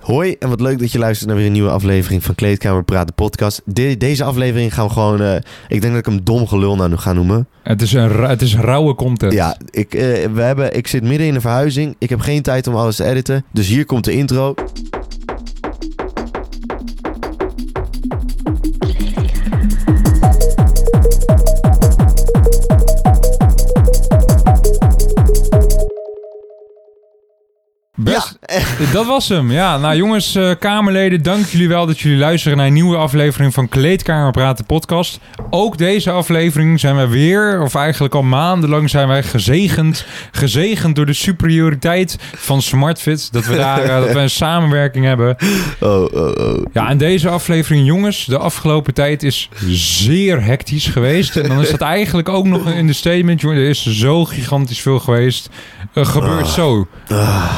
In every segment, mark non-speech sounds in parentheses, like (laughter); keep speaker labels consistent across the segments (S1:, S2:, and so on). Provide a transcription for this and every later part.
S1: Hoi en wat leuk dat je luistert naar weer een nieuwe aflevering van Kleedkamer Praat, de podcast. De- deze aflevering gaan we gewoon, eh, ik denk dat ik hem dom gelul nou ga noemen.
S2: Het is, een, ra- het is rauwe content.
S1: Ja, ik, eh, we hebben, ik zit midden in een verhuizing, ik heb geen tijd om alles te editen, dus hier komt de intro. Dus-
S2: Best-
S1: (laughs)
S2: Dat was hem. Ja, nou jongens, eh, Kamerleden, dank jullie wel dat jullie luisteren naar een nieuwe aflevering van Kleedkamer Praten Podcast. Ook deze aflevering zijn wij weer, of eigenlijk al maandenlang zijn wij gezegend. Gezegend door de superioriteit van SmartFit. Dat we daar eh, dat we een samenwerking hebben.
S1: Oh, oh, oh.
S2: Ja, en deze aflevering, jongens, de afgelopen tijd is zeer hectisch geweest. En dan is dat eigenlijk ook nog een understatement, jongen. Er is zo gigantisch veel geweest. Er
S1: Ah.
S2: gebeurt zo.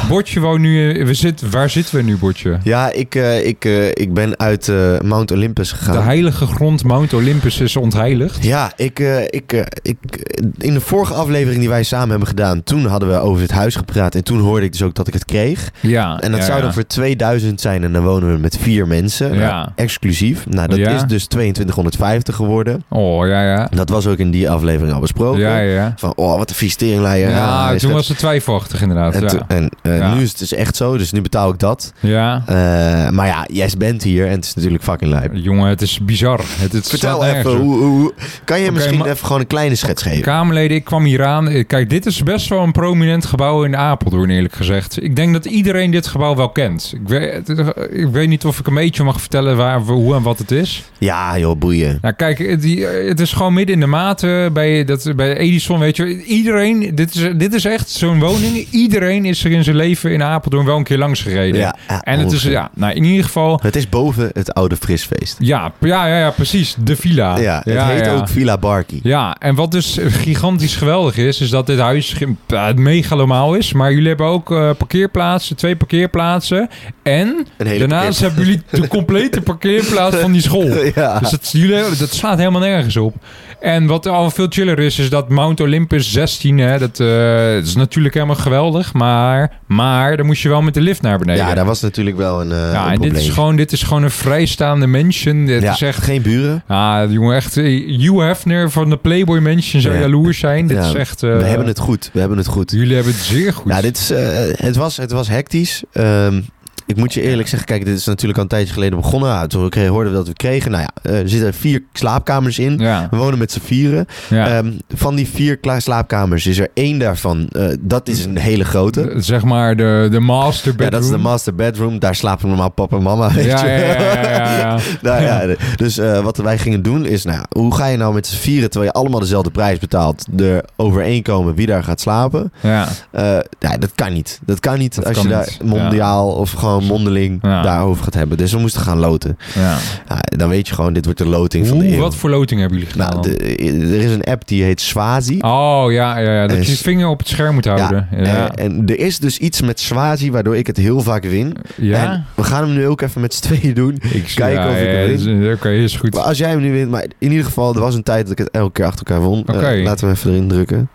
S2: Bordje woont nu... eh, We zit, waar zitten we nu, Bordje?
S1: Ja, ik, eh, ik, eh, ik ben uit eh, Mount Olympus
S2: De
S1: gegaan.
S2: heilige grond Mount Olympus is ontheiligd.
S1: Ja, ik, eh, ik, eh, ik, eh, in de vorige aflevering die wij samen hebben gedaan, toen hadden we over het huis gepraat. En toen hoorde ik dus ook dat ik het kreeg.
S2: Ja.
S1: En dat
S2: ja,
S1: zou
S2: ja.
S1: dan voor 2000 zijn en dan wonen we met vier mensen.
S2: Ja.
S1: Exclusief. Nou, dat
S2: Ja.
S1: is dus 2250 geworden.
S2: Oh, ja, ja.
S1: Dat was ook in die aflevering al besproken.
S2: Ja, ja, ja.
S1: Van, oh, wat een vies teringleier. Ah,
S2: Ja,
S1: hij
S2: toen
S1: schept-
S2: was het twijfelachtig inderdaad.
S1: En,
S2: Ja.
S1: toen- en eh,
S2: Ja.
S1: nu is het dus echt zo, dus nu betaal ik dat.
S2: ja.
S1: Eh, maar ja, jij bent hier en het is natuurlijk fucking lijp.
S2: Jongen, het is bizar. Het, het
S1: Vertel
S2: staat nergens
S1: even,
S2: op.
S1: hoe, hoe- hoe- kan je
S2: Oké,
S1: misschien
S2: maar-
S1: even gewoon een kleine schets geven?
S2: Kamerleden, ik kwam hier aan. Eh, Kijk, dit is best wel een prominent gebouw in Apeldoorn, eerlijk gezegd. Ik denk dat iedereen dit gebouw wel kent. Ik weet, eh, ik weet niet of ik een beetje mag vertellen waar, hoe en wat het is.
S1: Ja joh, boeien.
S2: Nou, kijk, het, die- het is gewoon midden in de maat eh, bij, dat, bij Edison, weet je. Iedereen, dit is, dit is echt zo'n woning. Iedereen is er in zijn leven in Apeldoorn wel een keer langs gereden.
S1: Ja, ja,
S2: en het is,
S1: ongeveer.
S2: ja, nou, in ieder geval...
S1: Het is boven het oude frisfeest.
S2: Ja, ja, ja, ja, precies. De villa.
S1: Ja, het heet ook Villa Barkie.
S2: Ja, en wat dus gigantisch geweldig is, is dat dit huis ge- eh, megalomaal is. Maar jullie hebben ook eh, parkeerplaatsen, twee parkeerplaatsen. En
S1: Een hele
S2: daarnaast hebben jullie de
S1: (laughs)
S2: complete parkeerplaats van die school.
S1: Ja.
S2: Dus dat, jullie, dat slaat helemaal nergens op. En wat al veel chiller is, is dat Mount Olympus 16, hè, dat, eh, dat is natuurlijk helemaal geweldig. Maar, maar dan moest je wel met de lift naar beneden.
S1: ja, daar was natuurlijk wel een, eh een
S2: ja en
S1: probleem.
S2: dit is, gewoon, dit is gewoon een vrijstaande mansion. Dit
S1: Ja,
S2: is echt
S1: geen buren.
S2: ja, jongen, echt. eh, Hugh Hefner van de Playboy Mansion zou
S1: Ja.
S2: jaloers zijn. Dit
S1: Ja,
S2: is echt... eh,
S1: we hebben het goed. We hebben het goed.
S2: Jullie hebben het zeer goed.
S1: Ja, dit is, eh, het, was, het was hectisch. Ehm, ik moet je eerlijk zeggen, kijk, dit is natuurlijk al een tijdje geleden begonnen. Nou, toen kreeg- hoorden we dat we kregen. Nou ja, eh, er zitten vier slaapkamers in.
S2: ja,
S1: We wonen met z'n vieren.
S2: ja.
S1: Ehm, van die vier kla- slaapkamers is er één daarvan. eh, dat is een hele grote.
S2: Eh, zeg maar de, de master
S1: Ja, dat is de
S2: bedroom.
S1: master bedroom. Daar slapen normaal papa en mama. (laughs) Weet
S2: Ja,
S1: je.
S2: ja, ja, ja, ja, ja.
S1: (laughs) nou ja, dus eh, wat wij gingen doen is, nou, ja, hoe ga je nou met z'n vieren, terwijl je allemaal dezelfde prijs betaalt, er overeenkomen wie daar gaat slapen?
S2: Ja.
S1: Eh, ja, dat kan niet. Dat kan niet
S2: Dat
S1: als
S2: kan
S1: je
S2: niet,
S1: daar mondiaal of gewoon mondeling
S2: Ja.
S1: daarover gaat hebben. Dus we moesten gaan loten.
S2: ja.
S1: Ja, dan weet je gewoon, dit wordt de loting van de
S2: Hoe,
S1: eeuw.
S2: wat voor loting hebben jullie gedaan?
S1: nou,
S2: dan?
S1: de- er is een app die heet Swazi.
S2: Oh, ja, ja, ja. Dat
S1: Is-
S2: je je vinger op het scherm moet houden. Ja.
S1: Eh,
S2: Ja.
S1: en er is dus iets met Swazi waardoor ik het heel vaak win. En we gaan hem nu ook even met z'n tweeën doen.
S2: Ik
S1: kijken
S2: ja,
S1: of ik
S2: ja,
S1: hem win.
S2: dat is- Oké, is goed.
S1: Maar als jij hem nu wint, maar in ieder geval, er was een tijd dat ik het elke keer achter elkaar won. Eh,
S2: Oké.
S1: laten we hem even erin drukken.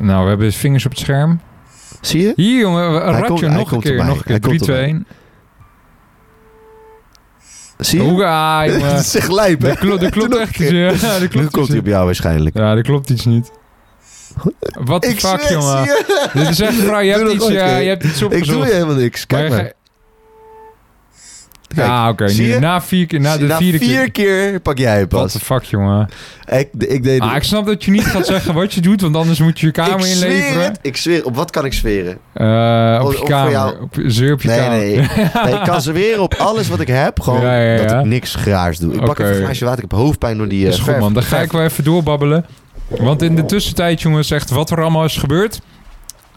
S2: Nou, we hebben vingers op het scherm.
S1: Zie je?
S2: Hier, jongen.
S1: komt-
S2: Ratje,
S1: hij
S2: nog een
S1: komt
S2: keer.
S1: erbij.
S2: Nog een
S1: Hij
S2: keer.
S1: komt
S2: 3, 2,
S1: erbij.
S2: 1.
S1: Zie je?
S2: Hoera,
S1: (laughs)
S2: jongen. (laughs)
S1: Het is echt lijp, hè?
S2: Er
S1: (laughs)
S2: klopt, er klopt
S1: Doe nog
S2: echt
S1: een
S2: iets.
S1: keer.
S2: Ja, er
S1: Nu
S2: eh. klopt
S1: komt
S2: iets.
S1: hij op jou waarschijnlijk.
S2: Ja, er klopt iets niet. Wat de
S1: Ik
S2: fuck,
S1: zweer,
S2: jongen.
S1: zie je?
S2: Dit is echt vrouw.
S1: (laughs)
S2: Je
S1: Doe nog
S2: hebt, iets,
S1: een
S2: ja,
S1: keer.
S2: je hebt
S1: Ik
S2: iets
S1: doe je
S2: opgezocht.
S1: helemaal niks.
S2: Maar
S1: Kijk
S2: je
S1: maar.
S2: ge-
S1: Kijk.
S2: Ja, oké.
S1: Zie
S2: nu
S1: je?
S2: Na, vier keer, na de
S1: Na
S2: vierde
S1: vier
S2: keer.
S1: keer pak jij hem
S2: Wat
S1: pas.
S2: de fuck, jongen.
S1: Ik, ik deed
S2: Ah, ik snap dat je niet gaat zeggen wat je doet, want anders moet
S1: (laughs)
S2: je je kamer
S1: zweer
S2: inleveren.
S1: het. Ik zweer, op wat kan ik
S2: (laughs)
S1: zweren?
S2: Eh, op
S1: Of-
S2: je
S1: of voor jou.
S2: kamer. Op, zeer op je
S1: Nee,
S2: kamer.
S1: nee. nee. Ik kan zweren op alles wat ik heb. Gewoon
S2: Ja, ja, ja.
S1: dat ik niks graars doe. Ik pak
S2: Oké.
S1: even een glaasje water. Ik heb hoofdpijn door die eh,
S2: is goed,
S1: verf.
S2: man. Dan ga ik wel even doorbabbelen. Want in de tussentijd, jongens, echt wat er allemaal is gebeurd.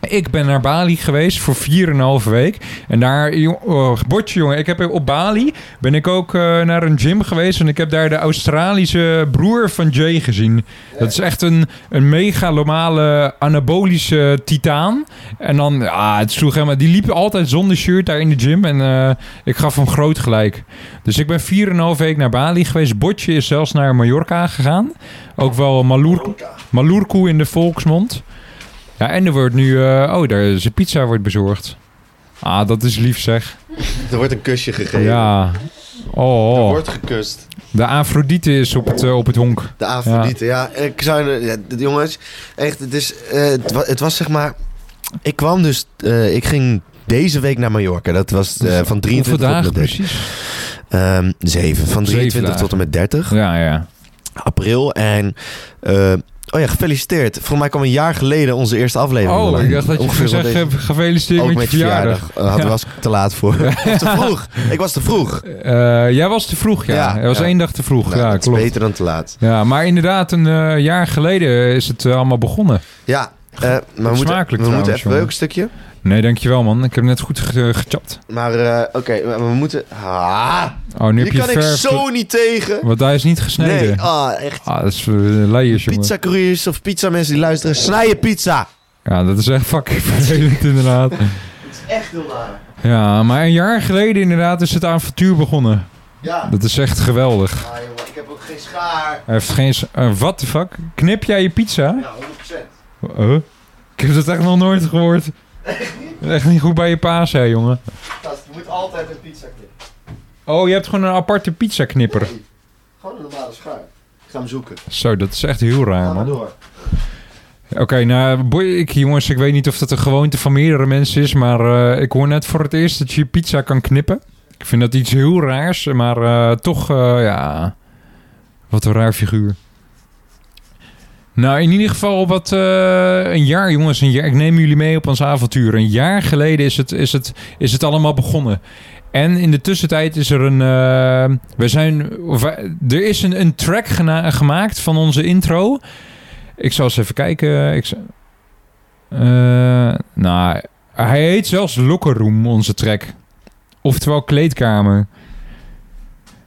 S2: Ik ben naar Bali geweest voor 4,5 week. En daar, jong- oh, bordje jongen, ik heb op Bali ben ik ook eh, naar een gym geweest. En ik heb daar de Australische broer van Jay gezien. Dat is echt een, een megalomale anabolische titaan. En dan, ja, het sloeg helemaal. Die liep altijd zonder shirt daar in de gym. En eh, ik gaf hem groot gelijk. Dus ik ben 4,5 week naar Bali geweest. Botje is zelfs naar Mallorca gegaan. Ook wel Malur- Malurku in de volksmond. Ja, en er wordt nu... eh, oh, daar is de pizza wordt bezorgd. Ah, dat is lief zeg.
S1: Er wordt een kusje gegeven.
S2: Ja. Oh,
S1: Er
S2: oh.
S1: wordt gekust.
S2: de Afrodite is op het, eh, op het honk.
S1: De Afrodite, ja. Ik zou... ja, d- jongens, echt, het is... eh, het, wa- het was zeg maar... Ik kwam dus... eh, ik ging deze week naar Mallorca. Dat was eh, van 23
S2: Hoeveel
S1: tot en
S2: dagen
S1: met 30.
S2: precies?
S1: Ehm, zeven. Van
S2: Zeven
S1: 23
S2: dagen.
S1: tot en met 30
S2: Ja, ja.
S1: april. En... eh, oh ja, gefeliciteerd. Volgens mij kwam een jaar geleden onze eerste aflevering
S2: Oh,
S1: online.
S2: ik dacht dat je
S1: Ongeveer
S2: ging
S1: wel deze-
S2: zeggen, gefeliciteerd
S1: Ook
S2: met je verjaardag.
S1: Eh, had,
S2: Ja.
S1: Was ik te laat voor. Ik
S2: (laughs)
S1: was te vroeg. Ik was te vroeg.
S2: Eh, jij was te vroeg, ja.
S1: Ja,
S2: Jij was
S1: ja.
S2: één dag te vroeg,
S1: Nou,
S2: ja,
S1: dat is
S2: klopt.
S1: beter dan te laat.
S2: Ja, maar inderdaad, een eh, jaar geleden is het eh, allemaal begonnen.
S1: Ja, eh, maar we moeten,
S2: Smakelijk
S1: we
S2: trouwens,
S1: moeten even... Wil
S2: jongen.
S1: je ook een stukje?
S2: Nee, dankjewel man. Ik heb net goed ge gechapt.
S1: Maar eh, oké, we, we moeten... Ah,
S2: Oh, nu
S1: hier
S2: heb je
S1: kan ik
S2: verf.
S1: zo niet tegen.
S2: Want hij is niet gesneden.
S1: Nee, ah, echt.
S2: Ah, dat is eh, leiers, jongen.
S1: Pizza couriers of pizza mensen die luisteren. Snij je pizza.
S2: Ja, dat is echt fucking (laughs) vervelend inderdaad.
S1: Echt heel waar.
S2: Ja, maar een jaar geleden inderdaad is het avontuur begonnen.
S1: Ja.
S2: (laughs) Dat is echt geweldig.
S1: Ah, jongen, ik heb ook geen schaar.
S2: Hij heeft geen... s- eh, what the fuck? Knip jij je pizza?
S1: Ja, 100%.
S2: Huh? Ik heb dat echt nog nooit gehoord. Echt niet goed bij je paas, hè, jongen.
S1: Gast, je moet altijd een pizza knippen.
S2: Oh, je hebt gewoon een aparte pizzaknipper.
S1: Gewoon een normale schaar. Ik ga hem zoeken.
S2: Zo, dat is echt heel raar, man.
S1: door.
S2: Oké, nou, boy, ik, jongens, ik weet niet of dat een gewoonte van meerdere mensen is, maar eh, ik hoor net voor het eerst dat je pizza kan knippen. Ik vind dat iets heel raars, maar eh, toch, eh, ja, wat een raar figuur. Nou, in ieder geval wat eh, een jaar, jongens, een jaar, ik neem jullie mee op ons avontuur. Een jaar geleden is het, is het, is het allemaal begonnen. En in de tussentijd is er een. eh, we zijn, of wij- er is een, een track gena- gemaakt van onze intro. Ik zal eens even kijken. Ik z- Eh, nou, hij heet zelfs Locker Room, onze track. Oftewel kleedkamer.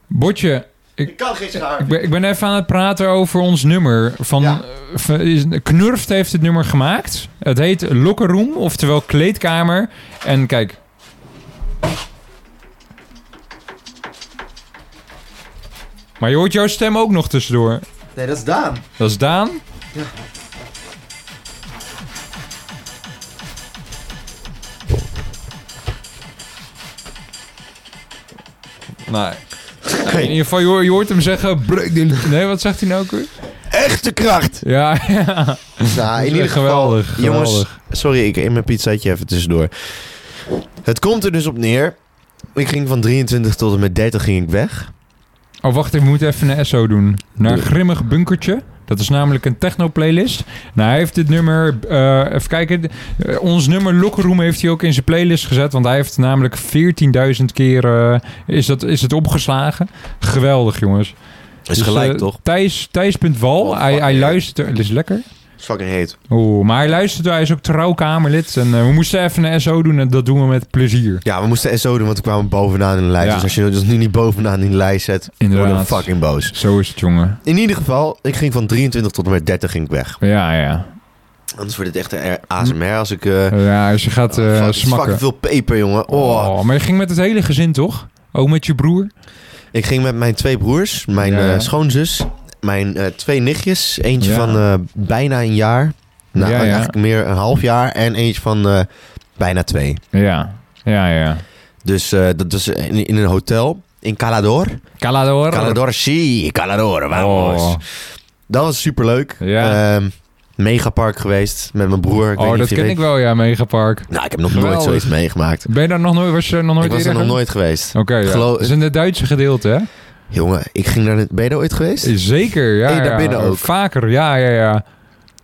S2: Botje,
S1: Ik kan geen schaar.
S2: ik ben, ik ben even aan het praten over ons nummer. Van,
S1: Ja.
S2: eh, van- is- Knurft heeft het nummer gemaakt. Het heet Locker Room, oftewel kleedkamer. En kijk. Maar je hoort jouw stem ook nog tussendoor.
S1: Nee, dat is Daan.
S2: Dat is Daan. Nee. Nou, In ieder geval, je hoort, je hoort hem zeggen... "Break the-" Nee, wat zegt hij nou ook weer?
S1: Echte kracht.
S2: Ja, (laughs) ja.
S1: Nou, in
S2: is
S1: ieder
S2: echt
S1: geval,
S2: geweldig, geweldig.
S1: jongens, sorry, ik in mijn pizzaatje even tussendoor. Het komt er dus op neer. Ik ging van 23 tot en met 30 ging ik weg.
S2: Oh, wacht, ik moet even een SO doen. Naar
S1: Doe.
S2: Grimmig Bunkertje. Dat is namelijk een techno-playlist. Nou, hij heeft dit nummer... eh, even kijken. Eh, ons nummer Locker Room heeft hij ook in zijn playlist gezet. Want hij heeft namelijk 14.000 keer... eh, is, dat, is het opgeslagen. Geweldig, jongens.
S1: Is
S2: Dus,
S1: gelijk,
S2: eh,
S1: toch?
S2: Thijs, Thijs.wal.
S1: Oh,
S2: hij,
S1: fuck,
S2: hij
S1: yeah.
S2: luistert... Dat is lekker.
S1: Is fucking heet.
S2: Oeh, maar hij luistert. Hij is ook trouw Kamerlid. En eh, we moesten even een SO doen. En dat doen we met plezier.
S1: Ja, we moesten SO doen, want we kwamen bovenaan in de lijst.
S2: Ja.
S1: Dus als je dus nu niet bovenaan in de lijst zet, worden we
S2: Inderdaad.
S1: fucking boos.
S2: Zo is het, jongen.
S1: In ieder geval, ik ging van 23 tot en met 30 ging ik weg.
S2: Ja, ja.
S1: Anders wordt het echt een R- ASMR als ik... eh
S2: Ja, als je gaat eh,
S1: fuck, het is
S2: smakken.
S1: fucking veel peper, jongen. Oh.
S2: Oh, maar je ging met het hele gezin, toch? Ook met je broer?
S1: Ik ging met mijn twee broers, mijn
S2: Ja.
S1: eh, schoonzus, mijn eh, twee nichtjes. Eentje
S2: Ja.
S1: van eh, bijna een jaar. Nou,
S2: Ja, ja.
S1: eigenlijk meer een half jaar. En eentje van eh, bijna twee.
S2: Ja, ja, ja.
S1: Dus eh, dat was in, in een hotel in Calador.
S2: Calador.
S1: Calador, sí, Calador, vamos.
S2: Oh,
S1: Dat was superleuk.
S2: Ja.
S1: Ehm, megapark geweest met mijn broer. Ik weet
S2: Oh,
S1: niet
S2: dat
S1: of je
S2: ken
S1: weet-
S2: ik wel, ja, Megapark.
S1: Nou, ik heb nog nooit
S2: Geweldig.
S1: zoiets meegemaakt.
S2: Ben je daar nog nooit, was je er nog nooit
S1: ik was er
S2: eerder
S1: nog
S2: geweest?
S1: nooit geweest.
S2: Oké, ja.
S1: Geloof-
S2: Dat is in het Duitse gedeelte, hè?
S1: Jongen, ik ging naar... Ben je daar ooit geweest?
S2: Zeker, ja.
S1: Hey, daar
S2: ja.
S1: binnen ook.
S2: Vaker, ja, ja, ja.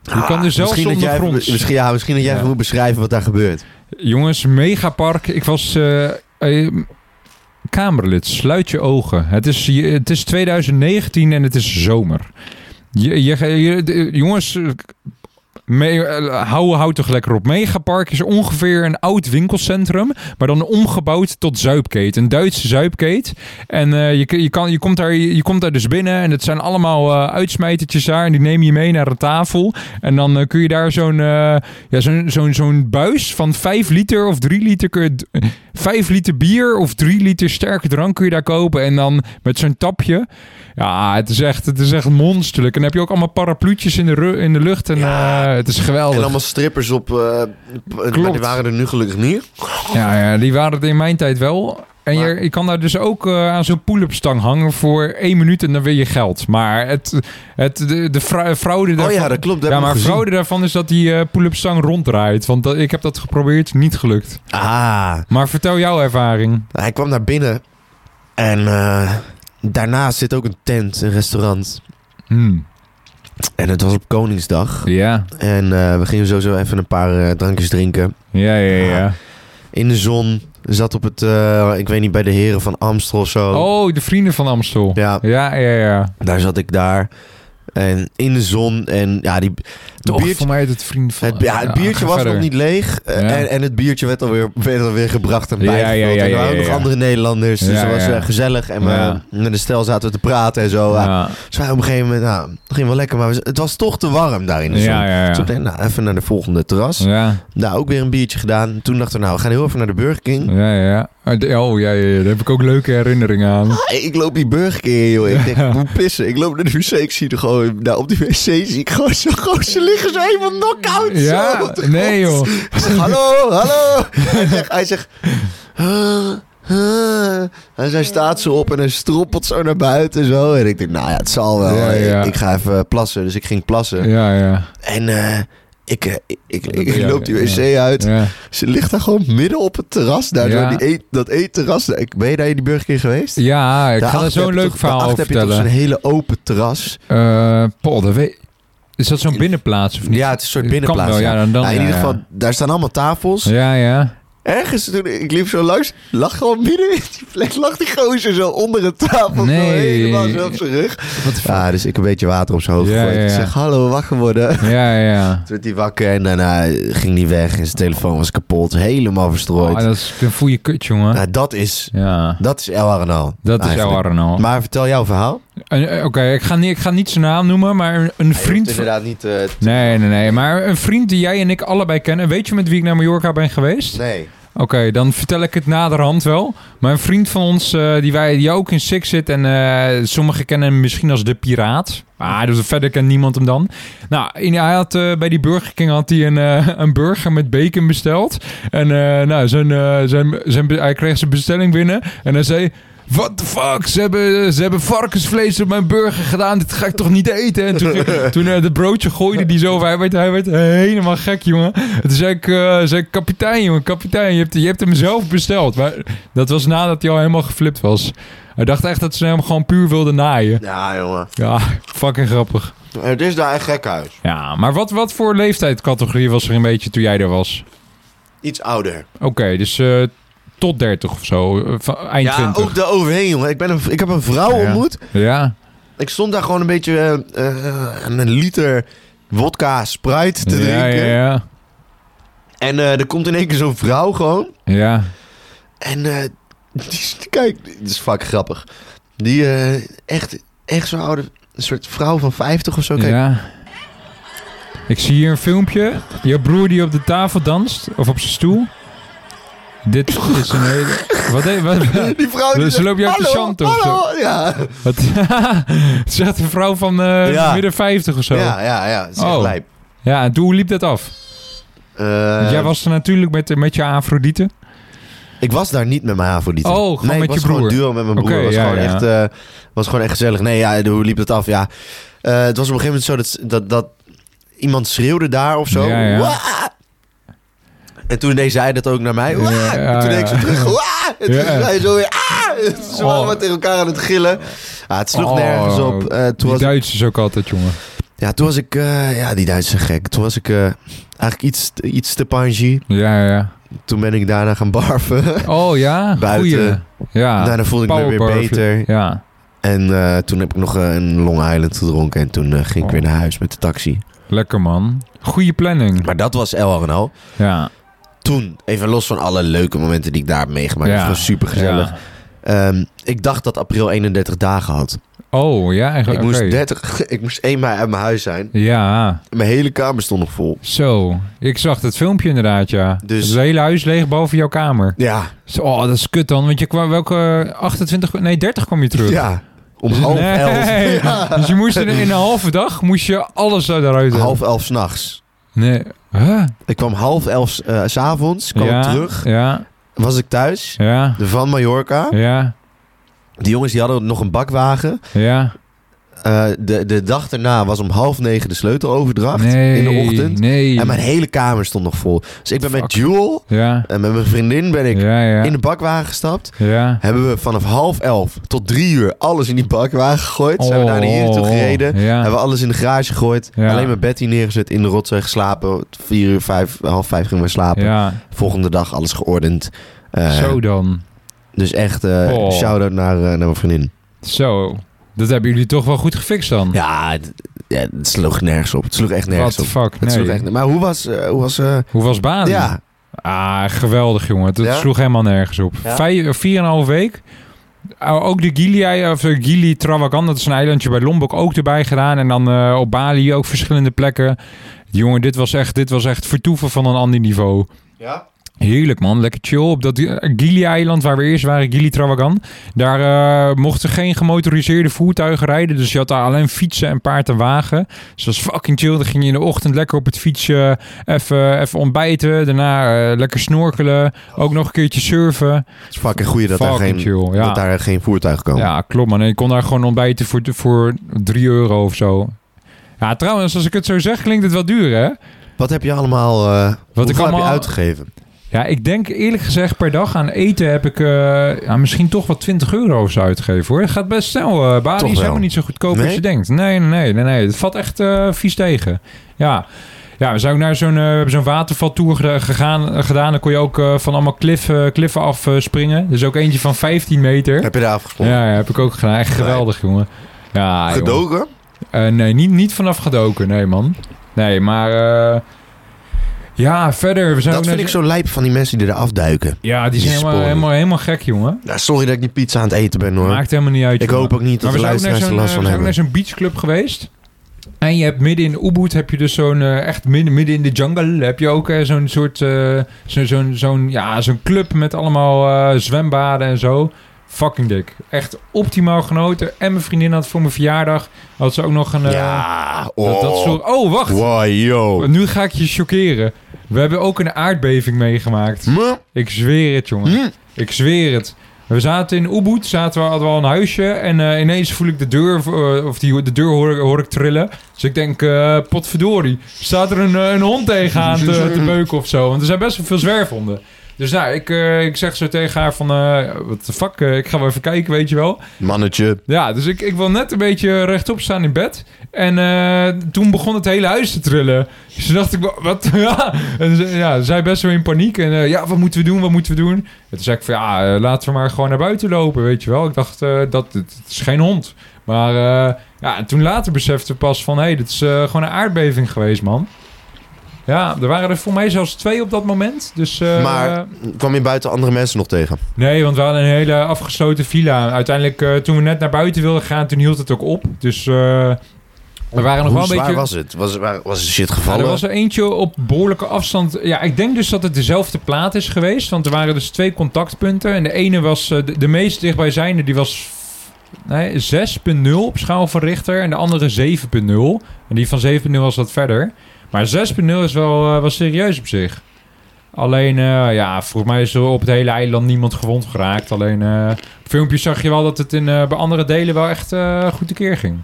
S2: Je
S1: Ah,
S2: kan er zelfs
S1: misschien dat jij even-
S2: ondergronds.
S1: misschien, ja, misschien dat jij
S2: Ja.
S1: even moet beschrijven wat daar gebeurt.
S2: Jongens, Megapark. Ik was... eh, eh, Kamerlid, sluit je ogen. Het is, je- het is 2019 en het is zomer. Je, je, je- de- jongens, eh, me- eh, hou, hou toch lekker op. Megapark is ongeveer een oud winkelcentrum, maar dan omgebouwd tot zuipkeet. Een Duitse zuipkeet. En eh, je, je, kan, je, komt daar, je, je komt daar dus binnen en het zijn allemaal eh uitsmijtertjes daar. En die neem je mee naar de tafel. En dan eh, kun je daar zo'n eh, ja, zo'n zo'n zo'n buis van 5 liter of 3 liter... kun je d- 5 liter bier of 3 liter sterke drank kun je daar kopen. En dan met zo'n tapje. Ja, het is echt, het is echt monsterlijk. En dan heb je ook allemaal parapluutjes in de, ru- in de lucht. En
S1: Ja,
S2: eh, het is geweldig.
S1: En allemaal strippers op... eh, p- maar die waren er nu gelukkig niet.
S2: Ja, ja, die waren het in mijn tijd wel. En je,
S1: Maar-
S2: je kan daar dus ook eh, aan zo'n pull-up stang hangen voor één minuut en dan wil je geld. Maar het, het, de, de fra- fraude
S1: Oh
S2: daarvan...
S1: ja, dat klopt. Dat
S2: Ja,
S1: heb ik
S2: maar
S1: gezien.
S2: fraude daarvan is dat die eh pull-up stang ronddraait. Want dat- ik heb dat geprobeerd, niet gelukt.
S1: Ah,
S2: Maar vertel jouw ervaring.
S1: hij kwam naar binnen. En eh, daarnaast zit ook een tent, een restaurant.
S2: Hmm,
S1: En het was op Koningsdag.
S2: Ja,
S1: En eh, we gingen sowieso even een paar eh, drankjes drinken.
S2: ja, ja, ja.
S1: In de zon. Zat op het, eh, ik weet niet, bij de heren van Amstel of zo.
S2: Oh, de vrienden van Amstel.
S1: Ja,
S2: Ja, ja, ja.
S1: daar zat ik daar. En in de zon. En ja, die
S2: Toch,
S1: biertje-
S2: voor mij het het vrienden van...
S1: Het, ja, het biertje
S2: ga
S1: was
S2: verder.
S1: nog niet leeg. eh,
S2: Ja.
S1: En, en het biertje werd alweer, werd alweer gebracht en
S2: Ja, ja,
S1: bijgevuld.
S2: ja,
S1: en er
S2: ja,
S1: waren ook
S2: ja,
S1: nog
S2: ja.
S1: andere Nederlanders. Dus
S2: Ja,
S1: dat was
S2: ja.
S1: eh, gezellig. En
S2: Ja.
S1: we, met de stel zaten we te praten en zo. Ja.
S2: Ja,
S1: Dus wij op een gegeven moment, nou, het ging wel lekker. Maar we- het was toch te warm daar in de zon.
S2: ja, ja.
S1: Dus
S2: ja.
S1: ik dacht, nou, even naar de volgende terras.
S2: Ja,
S1: Daar ook weer een biertje gedaan. Toen dachten we, nou, we gaan heel even naar de Burger King.
S2: ja, ja. Oh, de- oh, ja, ja, ja. Daar heb ik ook leuke herinneringen aan.
S1: Hey, Ah, Ik loop die Burger King, joh.
S2: (laughs)
S1: Ik denk, ik moet pissen. Ik loop naar de wc. Ik zie er gewoon, nou, op die wc zie ik gewoon zo, gewoon, ze liggen zo helemaal knock-out. zo
S2: Ja,
S1: op de
S2: nee
S1: grond.
S2: joh.
S1: Ik zeg, hallo, hallo. Hij zegt, hij zegt... "Huh, huh." En zij staat zo op en hij stroppelt zo naar buiten zo. En ik denk, nou ja, het zal wel.
S2: Ja, ja.
S1: Ik, ik ga even plassen. Dus ik ging plassen.
S2: Ja, ja.
S1: En eh, ik, eh, ik, ik, ik- ik
S2: Ja,
S1: loop die
S2: ja.
S1: wc uit.
S2: ja.
S1: Ze ligt daar gewoon midden op het terras. Daar,
S2: Ja.
S1: zo, die eet, dat eetterras. Ik- Ben je daar in die Burger King geweest?
S2: Ja, ik ga
S1: Daarachter
S2: er
S1: heb
S2: zo'n
S1: je
S2: leuk
S1: toch-
S2: verhaal over
S1: daarachter heb je toch
S2: vertellen.
S1: zo'n hele open terras.
S2: Eh Paul, dat weet... Is dat zo'n binnenplaats of niet?
S1: Ja, het is een soort
S2: Kan
S1: binnenplaats.
S2: wel, ja, dan- dan-
S1: Nou, in
S2: ja,
S1: ieder
S2: ja.
S1: geval, daar staan allemaal tafels.
S2: Ja, ja.
S1: Ergens toen ik liep zo langs, lag gewoon midden in die plek, lag die gozer zo onder de tafel.
S2: Nee.
S1: Zo helemaal zo op zijn rug.
S2: Wat de
S1: Ja, dus ik een beetje water op zijn hoofd
S2: Ja,
S1: gegooid.
S2: ja, ja.
S1: Ik zeg, hallo, wakker worden. Toen
S2: fuck? Ja, ja.
S1: werd hij wakker en daarna ging hij weg en zijn telefoon was kapot. Helemaal verstrooid.
S2: Ah, dat is een goede kut, jongen.
S1: nou, dat is,
S2: Ja,
S1: dat is El Arnal.
S2: dat is jouw
S1: eigenlijk.
S2: Arno.
S1: Maar vertel jouw verhaal.
S2: Eh, Oké, ik, ga niet- ik ga niet zijn naam noemen, maar een, een
S1: Hij hoeft
S2: vriend... van-
S1: inderdaad niet... eh, t-
S2: Nee, nee, nee. Maar een vriend die jij en ik allebei kennen. Weet je met wie ik naar Mallorca ben geweest?
S1: nee.
S2: Oké, dan vertel ik het naderhand wel. Maar een vriend van ons, eh, die, wij, die ook in Six zit... en eh, sommigen kennen hem misschien als de piraat. Maar dus verder kent niemand hem dan. Nou, in, hij had, eh, bij die Burger King had hij een, eh, een burger met bacon besteld. En eh, nou, zijn, eh, zijn, zijn, hij kreeg zijn bestelling binnen. En hij zei... What the fuck? Ze hebben, ze hebben varkensvlees op mijn burger gedaan. Dit ga ik toch niet eten? En toen, toen eh, dat broodje gooide die zo. over. Hij werd, hij werd helemaal gek, jongen. En Toen zei ik, eh, zei ik, kapitein, jongen, kapitein. Je hebt, je hebt hem zelf besteld. Maar dat was nadat hij al helemaal geflipt was. Hij dacht echt dat ze hem gewoon puur wilden naaien.
S1: Ja, jongen.
S2: Ja, fucking grappig.
S1: Het is daar een gekhuis.
S2: Ja, maar wat, wat voor leeftijdscategorie was er een beetje toen jij er was?
S1: Iets ouder.
S2: Oké, dus eh, tot 30 of zo, eh, van- eind
S1: ja, oh.
S2: 20.
S1: ook daar overheen, jongen. Ik, ben een, ik heb een vrouw
S2: Ja.
S1: ontmoet.
S2: Ja,
S1: Ik stond daar gewoon een beetje eh, eh, een liter wodka Sprite te
S2: ja,
S1: drinken.
S2: ja, ja.
S1: En eh, er komt in één keer zo'n vrouw gewoon.
S2: Ja,
S1: En eh, die, is- kijk, dit is fucking grappig. Die eh, echt, echt zo'n oude, een soort vrouw van 50 of zo. Kijk,
S2: ja. Ik zie hier een filmpje. Jouw broer die op de tafel danst, of op zijn stoel. Dit is een hele...
S1: (laughs)
S2: Wat, he- wat,
S1: die vrouw die
S2: Dus
S1: zegt,
S2: loop je uit de
S1: hallo,
S2: chant of zo?"
S1: hallo. Ja.
S2: wat, (laughs) Het is echt een vrouw van eh,
S1: Ja.
S2: midden 50 of zo. Ja.
S1: ja, ja, ja. Het is echt
S2: Oh.
S1: lijp.
S2: en toen hoe liep dat af?
S1: Eh,
S2: Jij was er natuurlijk met, met je Afrodite.
S1: Ik was daar niet met mijn havoliet.
S2: Oh, gewoon
S1: nee,
S2: met
S1: ik was
S2: je broer.
S1: gewoon duo met mijn broer.
S2: Oké,
S1: was,
S2: ja,
S1: gewoon
S2: ja.
S1: Echt, eh, was gewoon echt gezellig. Nee, ja, hoe liep het af? Ja, Eh, het was op een gegeven moment zo dat, dat, dat iemand schreeuwde daar of zo.
S2: Ja, ja.
S1: Wah! En toen deed zij dat ook naar mij. Wah!
S2: Ja,
S1: en toen deed
S2: ja,
S1: ik zo
S2: ja.
S1: terug.
S2: (laughs)
S1: Wah! En toen
S2: Ja.
S1: zei ze zo weer. Ah! En toen Ze
S2: Oh.
S1: waren allemaal tegen elkaar aan het gillen. Ja, het sloeg
S2: Oh.
S1: nergens op. Eh, toen,
S2: Die
S1: was,
S2: Duitsers ook altijd, jongen.
S1: ja, toen was ik... eh, ja, die Duitse gek. Toen was ik eh, eigenlijk iets, iets te pangie.
S2: Ja, ja.
S1: Toen ben ik daarna gaan barven.
S2: Oh ja,
S1: Buiten.
S2: goeie.
S1: (laughs)
S2: Ja,
S1: daarna voelde ik me weer
S2: powerbarf.
S1: beter.
S2: ja.
S1: En eh, toen heb ik nog eh, een Long Island gedronken. En toen eh, ging ik
S2: Oh.
S1: weer naar huis met de taxi.
S2: Lekker man. Goeie planning.
S1: Maar dat was El Arnal.
S2: Ja.
S1: Toen, even los van alle leuke momenten die ik daar heb meegemaakt.
S2: ja.
S1: Het was gewoon super gezellig.
S2: Ja.
S1: ik dacht dat april 31 dagen had.
S2: Oh ja,
S1: Ik,
S2: eigenlijk.
S1: moest
S2: oké.
S1: 30, (laughs) ik moest 1 mei uit mijn huis zijn.
S2: Ja,
S1: Mijn hele kamer stond nog vol.
S2: zo. Ik zag dat filmpje inderdaad, ja.
S1: Dus-
S2: Dus... Het hele huis leeg boven jouw kamer.
S1: Ja,
S2: Zo, Oh, dat is kut dan, want je kwam welke 28, nee 30 kwam je terug.
S1: ja. Om
S2: Dus-
S1: half
S2: nee. (laughs)
S1: elf. Ja.
S2: Dus je moest in, in een halve dag moest je alles eruit hebben.
S1: Half elf s'nachts.
S2: Nee. Huh?
S1: Ik kwam half elf eh, s s'avonds, kwam
S2: ja,
S1: ik terug,
S2: Ja,
S1: was ik thuis,
S2: ja,
S1: de Van Mallorca.
S2: ja,
S1: Die jongens die hadden nog een bakwagen.
S2: ja.
S1: Eh, de, de dag daarna was om half negen de sleuteloverdracht
S2: Nee,
S1: in de ochtend.
S2: Nee.
S1: En mijn hele kamer stond nog vol. Dus ik ben
S2: Fuck.
S1: met Jewel
S2: Ja,
S1: en met mijn vriendin ben ik
S2: ja, ja.
S1: in de bakwagen gestapt.
S2: ja.
S1: Hebben we vanaf half elf tot drie uur alles in die bakwagen gegooid. Zijn we daar naar hier naartoe gereden.
S2: Oh, Ja.
S1: Hebben we alles in de garage gegooid.
S2: Ja.
S1: Alleen mijn Betty neergezet, in de rotzooi geslapen. Vier uur, vijf, half vijf gingen we slapen.
S2: ja.
S1: Volgende dag alles geordend. Eh,
S2: Zo dan.
S1: Dus echt eh
S2: Oh.
S1: shout-out naar, eh, naar mijn vriendin.
S2: Zo. Dat hebben jullie toch wel goed gefixt dan?
S1: Ja het, ja, het sloeg nergens op. Het sloeg echt
S2: What
S1: nergens
S2: the
S1: op.
S2: fuck?
S1: Het sloeg
S2: Nee.
S1: echt, maar hoe was... eh, hoe was eh,
S2: Hoe was Bali?
S1: ja,
S2: Ah, geweldig jongen. Het
S1: Ja?
S2: sloeg helemaal nergens op.
S1: Ja?
S2: Vijf, eh, vier en een half week. Uh, Ook de Gili, of eh, Gili Travagan, dat is een eilandje bij Lombok, ook erbij gedaan. En dan eh, op Bali ook verschillende plekken. Jongen, dit was echt, dit was echt vertoeven van een ander niveau.
S1: ja.
S2: Heerlijk man, lekker chill. Op dat eh, Gili-eiland waar we eerst waren, Gili Trawagan. Daar eh, mochten geen gemotoriseerde voertuigen rijden. Dus je had daar alleen fietsen en paard en wagen. Dus dat was fucking chill. Dan ging je in de ochtend lekker op het fietsje even, even ontbijten. Daarna eh, lekker snorkelen. Ook nog een keertje surfen.
S1: Het is fucking goeie dat daar,
S2: fucking
S1: geen,
S2: chill, ja.
S1: dat daar geen voertuig komen.
S2: Ja, klopt man. En je kon daar gewoon ontbijten voor, voor 3 euro of zo. Ja, trouwens, als ik het zo zeg, klinkt het wel duur hè?
S1: Wat heb je allemaal... eh hoeveel
S2: ik allemaal-
S1: heb je uitgegeven?
S2: Ja, ik denk eerlijk gezegd per dag aan eten heb ik eh, ja, misschien toch wel 20 euro of zo uitgegeven hoor. Het gaat best snel. eh Bali
S1: Toch
S2: is
S1: wel.
S2: helemaal niet zo goedkoop als
S1: Nee?
S2: je denkt. Nee, nee, nee, nee, nee. Het valt echt eh, vies tegen. Ja. Ja, we zijn ook naar zo'n eh, we hebben zo'n watervaltour geda- gegaan, eh, gedaan. Dan kon je ook eh, van allemaal kliffen, kliffen af eh, springen. Dus ook eentje van 15 meter.
S1: Heb je daar afgesproken?
S2: Ja, ja, heb ik ook gedaan. Echt geweldig, jongen. Ja, jongen.
S1: Gedoken?
S2: Eh, nee, niet, niet vanaf gedoken. Nee, man. Nee, maar... eh, ja, verder. We zijn
S1: Dat
S2: ook
S1: vind
S2: naar
S1: ik zo lijp van die mensen die er afduiken.
S2: ja, die
S1: Die
S2: zijn helemaal,
S1: sporen.
S2: helemaal, helemaal gek, jongen.
S1: Nou, sorry dat ik die pizza aan het eten ben hoor.
S2: Maakt helemaal niet uit.
S1: ik
S2: jongen.
S1: hoop ook niet dat
S2: Maar
S1: de
S2: we zijn ook naar
S1: luisteraars er
S2: zo'n, eh, we
S1: last van
S2: zijn
S1: hebben.
S2: ook naar zo'n beachclub geweest. En je hebt midden in Ubud, heb je dus zo'n, eh, echt midden, midden in de jungle, heb je ook eh, zo'n soort, eh, zo, zo'n, zo'n, ja, zo'n club met allemaal eh, zwembaden en zo. Fucking dik. Echt optimaal genoten. En mijn vriendin had voor mijn verjaardag, had ze ook nog een... eh,
S1: Ja, oh.
S2: dat, dat soort... Oh, wacht.
S1: Wow, yo.
S2: Nu ga ik je choqueren. We hebben ook een aardbeving meegemaakt.
S1: Hm?
S2: Ik zweer het, jongen.
S1: Hm?
S2: Ik zweer het. We zaten in Ubud, zaten we, hadden we al een huisje. En eh, ineens voel ik de deur, eh, of die, de deur hoor, ik- hoor ik trillen. Dus ik denk, eh, potverdorie, staat er een, eh, een hond tegenaan te, te beuken of zo? Want er zijn best wel veel zwerfhonden. Dus nou, ik, eh, ik zeg zo tegen haar van, eh wat de fuck, eh, ik ga wel even kijken, weet je wel.
S1: Mannetje.
S2: Ja, dus ik, ik wil net een beetje rechtop staan in bed. En eh, toen begon het hele huis te trillen. Dus toen dacht ik, wa- wat? (laughs) Ja, en ze- ja zij best wel in paniek. En eh, ja, wat moeten we doen, wat moeten we doen? En toen zei ik van, ja, eh, laten we maar gewoon naar buiten lopen, weet je wel. Ik dacht, eh, dat het, het is geen hond. Maar eh, ja, en toen later besefte ik pas van, hé, hey, dit is eh, gewoon een aardbeving geweest, man. Ja, er waren er voor mij zelfs twee op dat moment. Dus, eh,
S1: Maar- Kwam je buiten andere mensen nog tegen?
S2: Nee, want we hadden een hele afgesloten villa. Uiteindelijk, eh, toen we net naar buiten wilden gaan, toen hield het ook op. Dus eh, we waren nog
S1: Hoe
S2: wel een
S1: zwaar
S2: beetje...
S1: was het? Was, waar- was er shit
S2: Ja,
S1: gevallen?
S2: er was er eentje op behoorlijke afstand. Ja, ik denk dus dat het dezelfde plaat is geweest. Want er waren dus twee contactpunten. En de ene was... eh, de, de meest dichtbijzijnde, die was... Nee, 6.0 op schaal van Richter. En de andere 7.0. En die van 7.0 was wat verder. Maar 6.0 is wel eh, was serieus op zich. Alleen, eh, ja, volgens mij is er op het hele eiland niemand gewond geraakt. Alleen, eh, op filmpjes zag je wel dat het in, eh, bij andere delen wel echt eh, goed tekeer ging.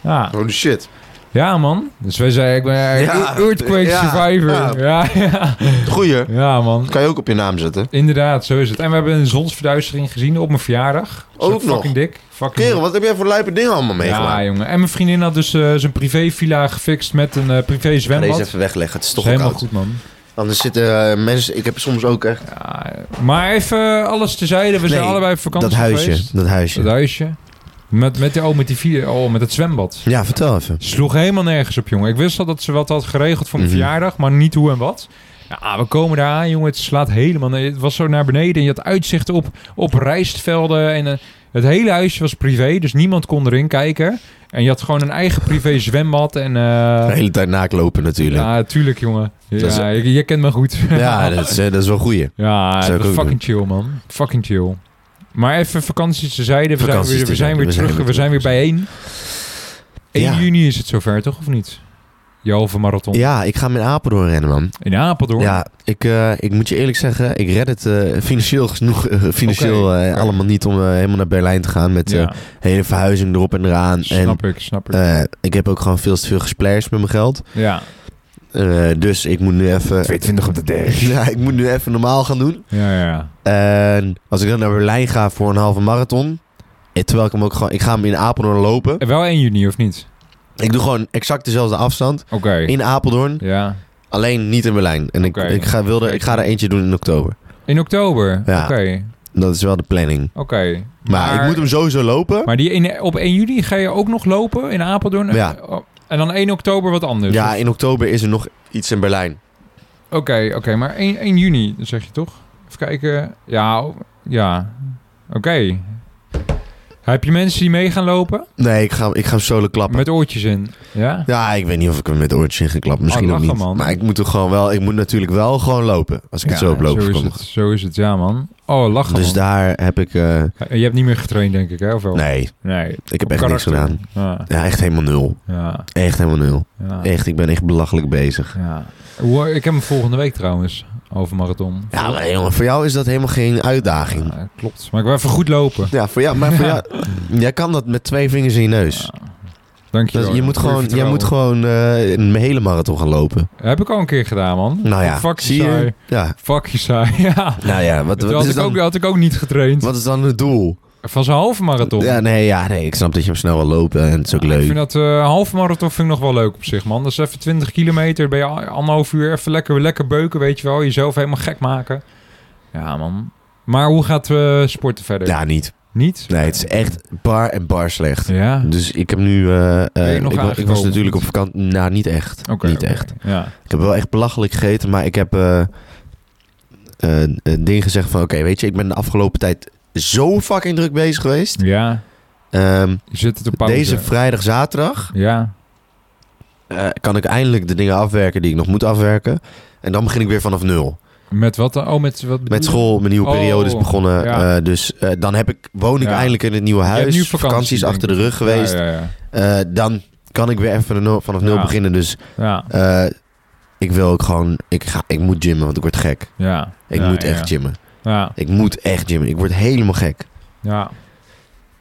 S2: Ja.
S1: Holy shit.
S2: Ja, man. Dus wij zeiden, ik ben eh,
S1: Ja.
S2: earthquake
S1: Ja.
S2: survivor. Ja. Ja, ja.
S1: Goeie.
S2: man.
S1: Kan je ook op je naam zetten.
S2: Inderdaad, zo is het. En we hebben een zonsverduistering gezien op mijn verjaardag. Dat is
S1: Ook nog.
S2: Fucking dik. Fucking
S1: Kerel, wat heb jij voor lijpe dingen allemaal
S2: dik. Ja,
S1: meegemaakt?
S2: jongen. En mijn vriendin had dus eh, zijn privé-villa gefixt met een
S1: Ik
S2: eh,
S1: ga
S2: privé-zwembad.
S1: deze even wegleggen. Het is toch
S2: Dat
S1: ook
S2: is helemaal
S1: oud.
S2: goed, man.
S1: Anders zitten eh, mensen... Ik heb soms ook echt...
S2: Ja, maar even eh, alles tezijde. We zijn
S1: Nee,
S2: allebei op vakantie
S1: Dat huisje.
S2: geweest.
S1: Dat huisje.
S2: Dat huisje. Met, met, de, oh, met, die, villa- oh, met het zwembad.
S1: Ja, vertel even.
S2: Sloeg helemaal nergens op, jongen. Ik wist al dat ze wat had geregeld voor mijn
S1: Mhm.
S2: verjaardag, maar niet hoe en wat. Ja, we komen daar aan, jongen. Het slaat helemaal... ne- Het was zo naar beneden en je had uitzicht op, op rijstvelden. En eh, het hele huisje was privé, dus niemand kon erin kijken. En je had gewoon een eigen privé zwembad en...
S1: De
S2: eh
S1: hele tijd naaklopen natuurlijk.
S2: ja, tuurlijk, jongen. Ja,
S1: Dat is-
S2: je, je kent me goed.
S1: Ja, dat, is, eh, dat is wel goeie.
S2: Ja,
S1: Zou ik
S2: het was
S1: ook
S2: fucking chill, man. Fucking chill. Maar even vakanties tezijde. We zijn
S1: Vakanties
S2: weer, we zijn
S1: tezijde,
S2: weer
S1: we zijn
S2: terug.
S1: weer
S2: We zijn weer
S1: terug.
S2: bijeen. 1
S1: Ja.
S2: juni is het zover, toch? Of niet? je halve marathon.
S1: Ja, ik ga met Apeldoorn rennen, man.
S2: In Apeldoorn.
S1: Ja, ik, eh, ik moet je eerlijk zeggen, ik red het eh, financieel genoeg. eh, financieel
S2: Oké,
S1: eh,
S2: oké.
S1: allemaal niet om eh, helemaal naar Berlijn te gaan met eh,
S2: Ja,
S1: hele verhuizing erop en eraan. en
S2: snap ik, snap ik.
S1: eh, ik heb ook gewoon veel te veel gesplashd met mijn geld.
S2: ja,
S1: Eh, dus ik moet nu even.
S3: 22 op de dag.
S1: (laughs) Ja, ik moet nu even normaal gaan doen.
S2: ja, ja, ja.
S1: En als ik dan naar Berlijn ga voor een halve marathon. eh, Terwijl ik hem ook gewoon. Ik ga hem in Apeldoorn lopen.
S2: Eh, Wel 1 juni, of niet?
S1: Ik doe gewoon exact dezelfde afstand.
S2: Oké.
S1: In Apeldoorn.
S2: Ja.
S1: Alleen niet in Berlijn. En ik,
S2: Oké.
S1: ik, ga, wilde, ik ga er eentje doen in oktober.
S2: In oktober?
S1: Ja.
S2: Oké,
S1: Dat is wel de planning.
S2: oké.
S1: Maar, ik moet hem sowieso lopen.
S2: Maar die in, op 1 juni ga je ook nog lopen in Apeldoorn?
S1: Ja.
S2: Oh, En dan 1 oktober wat anders?
S1: ja,
S2: Of-
S1: in oktober is er nog iets in Berlijn.
S2: Oké, oké. maar 1, 1 juni, dat zeg je toch? Even kijken. Ja, o- ja. Oké. Heb je mensen die mee gaan lopen?
S1: Nee, ik ga, ik ga hem solo klappen.
S2: Met oortjes in. Ja?
S1: Ja, ik weet niet of ik hem met oortjes in ga klappen. Misschien
S2: Oh,
S1: ook
S2: lachen,
S1: niet.
S2: man.
S1: Maar ik moet, er gewoon wel, ik moet natuurlijk wel gewoon lopen. Als ik het
S2: Ja,
S1: zo oploop.
S2: Zo is het, zo is het, ja man. Oh, lachen
S1: Dus
S2: man.
S1: daar heb ik... eh,
S2: Je hebt niet meer getraind denk ik, hè? Of wel?
S1: nee,
S2: Nee.
S1: ik heb
S2: Op
S1: echt niks
S2: karakter.
S1: gedaan.
S2: Ja,
S1: Ja, echt helemaal nul.
S2: ja,
S1: Echt helemaal nul.
S2: ja.
S1: Echt, ik ben echt belachelijk bezig.
S2: ja. Hoe- Ik heb hem volgende week trouwens, over marathon.
S1: Ja, maar jongen, voor jou is dat helemaal geen uitdaging.
S2: Ja, klopt. Maar ik wil even goed lopen.
S1: Ja, voor jou, maar voor jou... Jij kan dat met twee vingers in je neus.
S2: Dank je
S1: Dat-
S2: wel.
S1: je moet
S2: Voor
S1: gewoon, jij
S2: vertrouwen.
S1: moet gewoon eh, een hele marathon gaan lopen.
S2: Heb ik al een keer gedaan, man.
S1: Nou ja,
S2: Fuck je
S1: zie je?
S2: saai.
S1: Ja.
S2: Fuck je saai, (laughs) ja.
S1: Nou ja, wat,
S2: Dat
S1: wat,
S2: had,
S1: is
S2: ik ook,
S1: dan,
S2: had ik ook niet getraind.
S1: wat is dan het doel?
S2: Van zijn halve marathon.
S1: Ja, nee, ja, nee, ik snap dat je hem snel wil lopen en het is ook
S2: Ja, Ik
S1: leuk.
S2: vind dat eh halve marathon vind ik nog wel leuk op zich, man. Dat is even 20 kilometer. Ben je al- anderhalf uur even lekker, lekker beuken, weet je wel. Jezelf helemaal gek maken. Ja, man. Maar hoe gaat eh sporten verder?
S1: Ja, niet.
S2: Niet?
S1: Nee, het is echt bar en bar slecht.
S2: Ja.
S1: Dus ik heb nu... eh, eh,
S2: je nog
S1: ik, wa- ik
S2: aangekomen
S1: was
S2: of
S1: natuurlijk op
S2: niet?
S1: vakantie. Nou, niet echt.
S2: Oké,
S1: niet
S2: oké.
S1: echt.
S2: Ja.
S1: Ik heb wel echt belachelijk gegeten, maar ik heb eh, eh, een ding gezegd van... Oké, weet je, ik ben de afgelopen tijd zo fucking druk bezig geweest.
S2: ja,
S1: Ehm,
S2: je zit het op pauze.
S1: deze vrijdag, zaterdag
S2: Ja,
S1: eh, kan ik eindelijk de dingen afwerken die ik nog moet afwerken. En dan begin ik weer vanaf nul.
S2: met wat dan? Oh, met wat bedoel
S1: Met
S2: je?
S1: school, mijn nieuwe
S2: Oh,
S1: periode is begonnen.
S2: ja.
S1: eh, dus eh, dan heb ik, woon ik
S2: Ja.
S1: eindelijk in het nieuwe
S2: hebt
S1: huis.
S2: nu
S1: vakantie,
S2: vakantie,
S1: vakanties
S2: denk
S1: achter de rug geweest.
S2: Ja, ja, ja.
S1: Eh, dan kan ik weer even vanaf nul- vanaf nul
S2: Ja.
S1: beginnen. Dus
S2: ja,
S1: eh, ik wil ook gewoon... Ik, ga, ik moet gymmen, want ik word gek.
S2: ja.
S1: Ik
S2: Ja,
S1: moet
S2: ja,
S1: echt gymmen.
S2: Ja,
S1: Ik moet echt gymmen. Ik word helemaal gek.
S2: ja.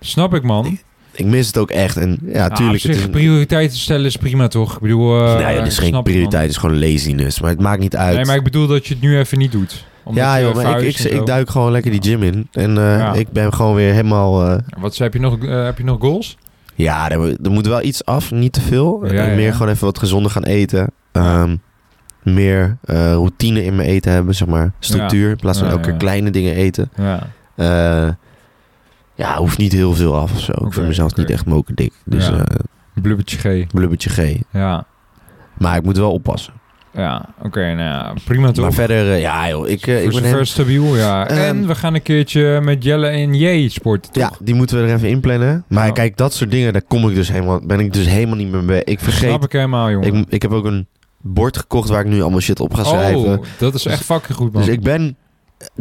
S2: Snap ik, man.
S1: Ik mis het ook echt. En ja,
S2: Ja,
S1: tuurlijk...
S2: Nou, op
S1: Het
S2: zich,
S1: is,
S2: prioriteiten stellen is prima, toch? Ik bedoel... eh,
S1: nou ja, het is
S2: ik
S1: geen
S2: snap het, man.
S1: prioriteit. Het is gewoon laziness. Maar het maakt niet uit.
S2: Nee, maar ik bedoel dat je het nu even niet doet. Omdat
S1: ja,
S2: je
S1: joh, maar ik, ik,
S2: verhuist en
S1: ik
S2: zo.
S1: duik gewoon lekker die gym in. En eh,
S2: Ja.
S1: ik ben gewoon weer helemaal... eh,
S2: Wat heb je nog? eh, heb je nog goals?
S1: Ja, er, er moet wel iets af, niet te veel.
S2: Ja, ja,
S1: Meer
S2: ja.
S1: gewoon even wat gezonder gaan eten. Ehm, meer eh, routine in mijn eten hebben, zeg maar. Structuur, in plaats van
S2: Ja,
S1: elke
S2: ja.
S1: keer kleine dingen eten.
S2: Ja.
S1: Eh, ja, hoeft niet heel veel af of zo. ik vind
S2: Oké,
S1: mezelf
S2: oké.
S1: niet echt mokerdik. Dus
S2: Ja.
S1: eh
S2: Blubbertje G.
S1: blubbertje G.
S2: Ja.
S1: Maar ik moet wel oppassen.
S2: Ja. Oké, nou ja, prima toch?
S1: Maar verder, eh, ja joh, ik, eh,
S2: Voor
S1: ik ben...
S2: zover
S1: hem-
S2: stabiel, ja.
S1: Ehm,
S2: en we gaan een keertje met Jelle en J sporten, toch?
S1: Ja, die moeten we er even inplannen. Maar
S2: Ja.
S1: kijk, dat soort dingen, daar kom ik dus helemaal, ben ik dus helemaal niet meer bij. Ik vergeet...
S2: Snap ik helemaal, jongen.
S1: Ik, ik heb ook een bord gekocht waar ik nu allemaal shit op ga schrijven.
S2: oh, dat is echt fucking goed, man.
S1: Dus ik ben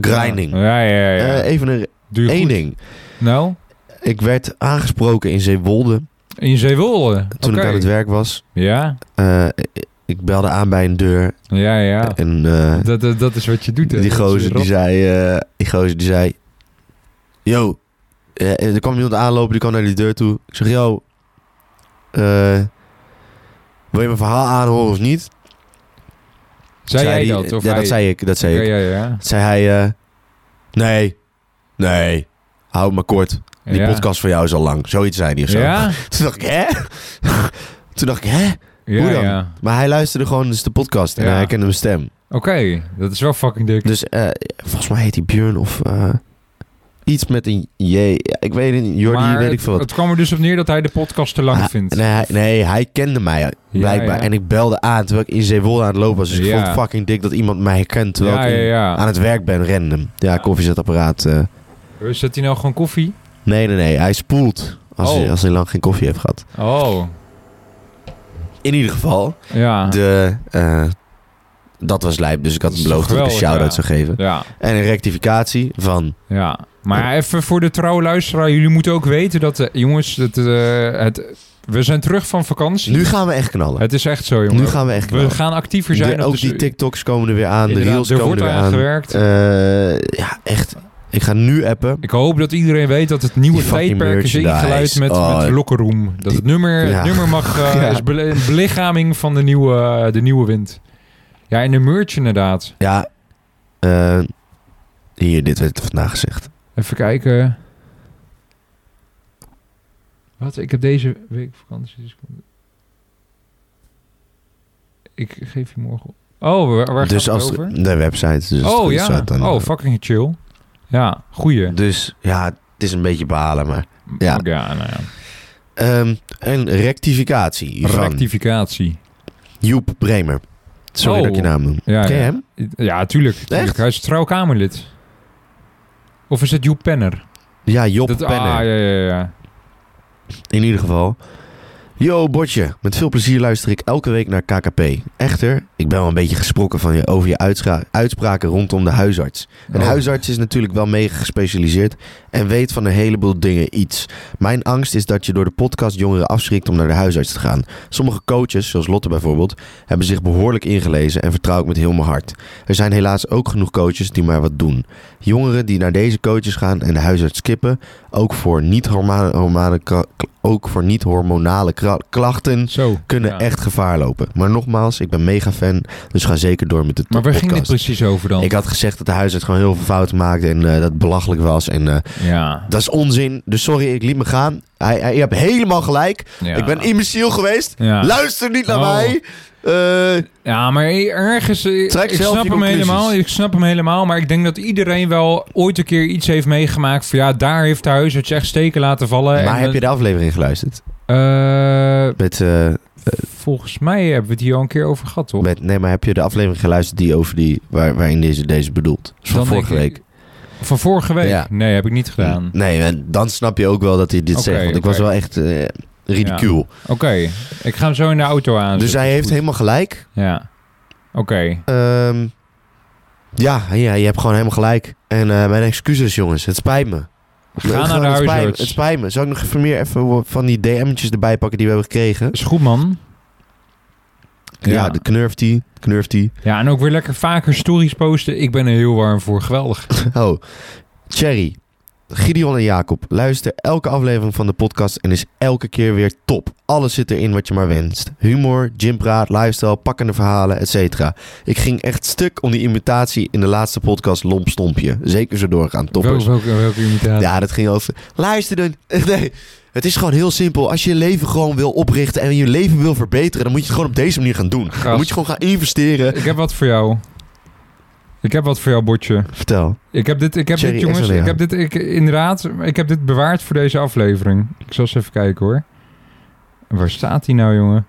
S1: grinding.
S2: Ja, ja, ja. ja.
S1: Eh, even een,
S2: Doe je
S1: één
S2: goed.
S1: ding.
S2: Nou,
S1: Ik werd aangesproken in Zeewolde
S2: in Zeewolde.
S1: toen
S2: Oké.
S1: ik aan het werk was.
S2: Ja,
S1: Eh, ik- ik belde aan bij een deur
S2: ja, ja.
S1: en eh,
S2: Dat, dat, dat is wat je doet. hè.
S1: die,
S2: Dat is
S1: gozer,
S2: rot.
S1: die, zei, eh, die gozer die zei... Yo, Eh, er kwam iemand aanlopen, die kwam naar die deur toe. Ik zeg, yo, eh, wil je mijn verhaal aanhoren of niet?
S2: Zei jij
S1: die-
S2: dat? Of
S1: ja,
S2: hij?
S1: dat zei ik, dat zei
S2: Ja,
S1: ik.
S2: ja, ja.
S1: Zei hij, eh, nee, nee, hou het maar kort. Die
S2: Ja.
S1: podcast van jou is al lang. Zoiets zei hij of zo.
S2: Ja?
S1: (laughs) Toen dacht ik, hè? Toen dacht ik, hè?
S2: Ja,
S1: Hoe dan?
S2: ja.
S1: Maar hij luisterde gewoon dus de podcast en
S2: Ja.
S1: hij kende mijn stem.
S2: Oké, dat is wel fucking dik.
S1: Dus eh, volgens mij heet hij Björn of eh, iets met een J. Ja, Ik weet het niet, Jordi,
S2: Maar
S1: weet
S2: het,
S1: ik veel wat.
S2: het kwam er dus op neer dat hij de podcast te lang
S1: Ah,
S2: vindt.
S1: Nee hij, nee, hij kende mij eh, blijkbaar.
S2: ja.
S1: En ik belde aan terwijl ik in Zeewolde aan het lopen was. Dus ik
S2: Ja.
S1: vond het fucking dik dat iemand mij herkent terwijl
S2: ja,
S1: ik
S2: ja,
S1: in-
S2: ja.
S1: aan het werk ben, random. Ja, koffiezetapparaat. eh.
S2: Zet hij nou gewoon koffie?
S1: Nee, nee, nee, hij spoelt als,
S2: Oh.
S1: hij, als hij lang geen koffie heeft gehad.
S2: Oh,
S1: In ieder geval,
S2: ja.
S1: de, eh, dat was lijp. Dus ik had
S2: Ah. Dat is
S1: beloofd
S2: toch
S1: dat ik een
S2: geweldig,
S1: shout-out
S2: ja.
S1: zou geven.
S2: Ja,
S1: En een rectificatie van...
S2: ja. Maar even voor de trouwe luisteraar. Jullie moeten ook weten dat, eh, jongens, dat, eh, het We zijn terug van vakantie.
S1: Nu gaan we echt knallen.
S2: Het is echt zo, jongen.
S1: Nu gaan we echt knallen.
S2: we gaan actiever
S1: De-
S2: zijn. op
S1: ook
S2: de-
S1: die TikToks komen er weer aan. De
S2: Inderdaad,
S1: reels
S2: er wordt
S1: komen er weer
S2: aan
S1: aan.
S2: gewerkt.
S1: Eh, ja, echt. Ik ga nu appen.
S2: Ik hoop dat iedereen weet dat het nieuwe
S1: Die fucking
S2: tijdperk is
S1: merchandise.
S2: ingeluid met,
S1: Oh.
S2: met Lokkeroem. Dat het nummer,
S1: Ja.
S2: het nummer
S1: (laughs)
S2: mag, eh,
S1: Ja.
S2: is bele- een belichaming van de nieuwe, eh, de nieuwe wind. Ja, en de merch inderdaad.
S1: Ja. eh, hier, dit werd vandaag gezegd.
S2: Even kijken. Wat? Ik heb deze week vakantie. dus ik- Ik geef je morgen op. Oh, waar, waar
S1: dus
S2: gaat
S1: als
S2: het
S1: de-
S2: over?
S1: de website. Dus als het
S2: oh
S1: goed
S2: ja.
S1: staat, dan,
S2: oh, fucking chill. Ja, goeie.
S1: Dus ja, het is een beetje balen, maar. ja.
S2: Ook ja, nou ja.
S1: Ehm, een rectificatie van
S2: Rectificatie.
S1: Joep Bremer. Sorry
S2: Oh.
S1: dat ik je naam noem.
S2: Ja,
S1: Ken je
S2: ja.
S1: hem?
S2: Ja, tuurlijk. tuurlijk.
S1: Echt?
S2: Hij is trouw Kamerlid. Of is het Joep Penner?
S1: Ja, Job
S2: Dat-
S1: Penner.
S2: Ah, ja, ja, ja.
S1: In ieder geval. Yo, Botje. Met veel plezier luister ik elke week naar KKP. Echter, ik ben wel een beetje gesproken van je, over je uitscha- uitspraken rondom de huisarts. Een
S2: Oh.
S1: huisarts is natuurlijk wel mega gespecialiseerd en weet van een heleboel dingen iets. Mijn angst is dat je door de podcast jongeren afschrikt om naar de huisarts te gaan. Sommige coaches, zoals Lotte bijvoorbeeld, hebben zich behoorlijk ingelezen en vertrouw ik met heel mijn hart. Er zijn helaas ook genoeg coaches die maar wat doen. Jongeren die naar deze coaches gaan en de huisarts skippen, ook voor niet-hormonale hormonale kra- ook voor niet-hormonale kra- klachten,
S2: Zo.
S1: kunnen
S2: Ja.
S1: echt gevaar lopen. Maar nogmaals, ik ben mega fan, dus ga zeker door met de
S2: Maar waar ging dit
S1: podcast.
S2: precies over dan?
S1: Ik had gezegd dat de huisarts gewoon heel veel fouten maakte en eh, dat het belachelijk was. En eh,
S2: ja.
S1: dat is onzin. Dus sorry, ik liet me gaan. Hij, hij, je hebt helemaal gelijk.
S2: ja.
S1: Ik ben imbeciel geweest.
S2: Ja.
S1: Luister niet naar
S2: Oh.
S1: mij. Eh,
S2: Ja, maar ergens... eh,
S1: Trek
S2: ik
S1: zelf
S2: snap
S1: je
S2: hem
S1: conclusies.
S2: helemaal. Ik snap hem helemaal. Maar ik denk dat iedereen wel ooit een keer iets heeft meegemaakt. Van ja, daar heeft de huisarts echt steken laten vallen.
S1: maar
S2: En,
S1: heb je de aflevering geluisterd?
S2: eh,
S1: Met, eh,
S2: volgens mij hebben we het hier al een keer over gehad, toch?
S1: met, nee, maar heb je de aflevering geluisterd die over die, waar, waarin deze, deze bedoelt? Dus van
S2: Dan denk
S1: vorige
S2: ik-
S1: week.
S2: Van vorige week?
S1: Ja.
S2: Nee, heb ik niet gedaan.
S1: Nee, en dan snap je ook wel dat hij dit
S2: Oké,
S1: zegt. Want ik
S2: oké. Nou,
S1: was wel echt eh ridicuul.
S2: Oké, ik ga hem zo in de auto aan.
S1: dus hij heeft
S2: helemaal.
S1: helemaal gelijk.
S2: Ja. Oké.
S1: Ehm, ja, ja, je hebt gewoon helemaal gelijk. En eh, mijn excuses, jongens. Het spijt me.
S2: Ga
S1: Het-
S2: naar de
S1: het spijt me. Het
S2: huisarts.
S1: spijt me. Zal ik nog even meer even van die DM'tjes erbij pakken die we hebben gekregen?
S2: Is goed, man.
S1: Ja,
S2: Ja.
S1: de knurft die. Knurft die.
S2: Ja, en ook weer lekker vaker stories posten. Ik ben er heel warm voor. Geweldig.
S1: (laughs) Oh, Cherry. Gideon en Jacob, luister elke aflevering van de podcast en is elke keer weer top. Alles zit erin wat je maar wenst. Humor, gympraat, lifestyle, pakkende verhalen, et cetera. Ik ging echt stuk om die imitatie in de laatste podcast Lomp Stompje. Zeker zo doorgaan, toppers.
S2: Wel- welke, welke imitatie?
S1: Ja, dat ging over. Luister dan. (laughs) Nee. Het is gewoon heel simpel. Als je je leven gewoon wil oprichten en je leven wil verbeteren, dan moet je het gewoon op deze manier gaan doen. Dan
S2: Gast.
S1: moet je gewoon gaan investeren.
S2: Ik heb wat voor jou. Ik heb wat voor jou, Botje.
S1: Vertel.
S2: Ik heb dit, ik heb
S1: Thierry
S2: dit jongens.
S1: Esselea.
S2: Ik heb dit, ik, inderdaad, ik heb dit bewaard voor deze aflevering. Ik zal eens even kijken hoor. Waar staat hij nou, jongen?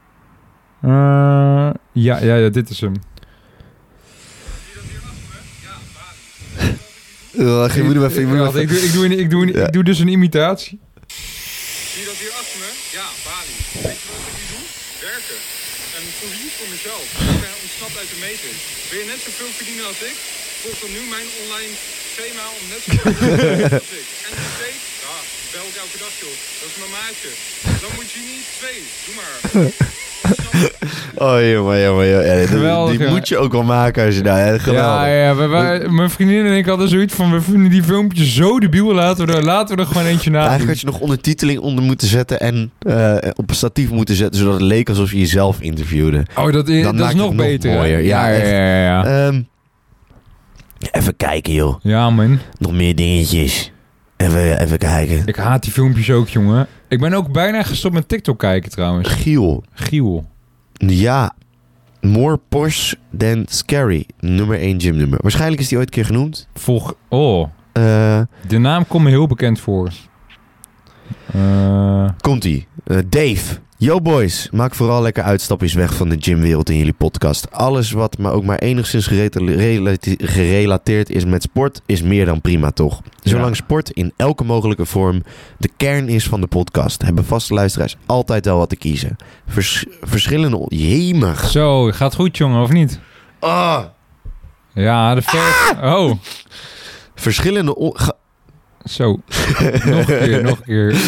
S2: Eh, ja, ja, ja, dit is hem.
S1: Uh, je moet hem even. Je moet hem
S2: Wacht,
S1: even-
S2: ik, doe, ik, doe, een- ik, doe, een-
S1: Ja.
S2: ik doe dus een imitatie.
S3: Zie je dat hier achter me? Ja, Bali. Weet je wat ik hier doe? Werken. En voorzien voor mezelf. Ik ben ontsnapt uit de meter. Wil je net zoveel verdienen als ik? Volg dan nu mijn online schema om net zoveel te verdienen als
S2: (laughs)
S3: ik. En nog steeds? Ja, bel ik elke dag joh. Dat is mijn maatje. Dan moet je niet twee. Doe maar.
S1: Oh, jongen, jongen, jongen. Ja, die-
S2: Geweldig,
S1: die
S2: jongen.
S1: moet je ook wel maken als je daar. hè. Geweldig.
S2: Ja, ja we- we- mijn vriendin en ik hadden zoiets van... we vinden die filmpjes zo debiel, laten we er, laten we er gewoon eentje na
S1: Eigenlijk had je nog ondertiteling onder moeten zetten en eh, op een statief moeten zetten, zodat het leek alsof je jezelf interviewde.
S2: Oh, dat is,
S1: Dan
S2: dat
S1: maakt
S2: is
S1: het
S2: nog
S1: nog
S2: beter.
S1: mooier. Ja,
S2: Ja, ja,
S1: echt.
S2: ja, ja, ja.
S1: Ehm, even kijken, joh.
S2: Ja, man.
S1: Nog meer dingetjes. Even, even kijken.
S2: Ik haat die filmpjes ook, jongen. Ik ben ook bijna gestopt met TikTok kijken, trouwens.
S1: Giel.
S2: Giel.
S1: Ja. More Porsche than Scary. Nummer 1 gymnummer. Waarschijnlijk is die ooit een keer genoemd.
S2: Volg... Oh,
S1: Eh,
S2: de naam komt me heel bekend voor. Eh,
S1: komt ie. Eh, Dave. Yo boys, maak vooral lekker uitstapjes weg van de gymwereld in jullie podcast. Alles wat maar ook maar enigszins gereta- relati- gerelateerd is met sport, is meer dan prima toch? Zolang sport in elke mogelijke vorm de kern is van de podcast, hebben vaste luisteraars altijd wel wat te kiezen. Vers- verschillende... Jemig.
S2: zo, gaat goed, jongen, of niet?
S1: Ah.
S2: Ja, de ver... Oh,
S1: Verschillende... on- ge-
S2: zo. nog een keer, nog een keer.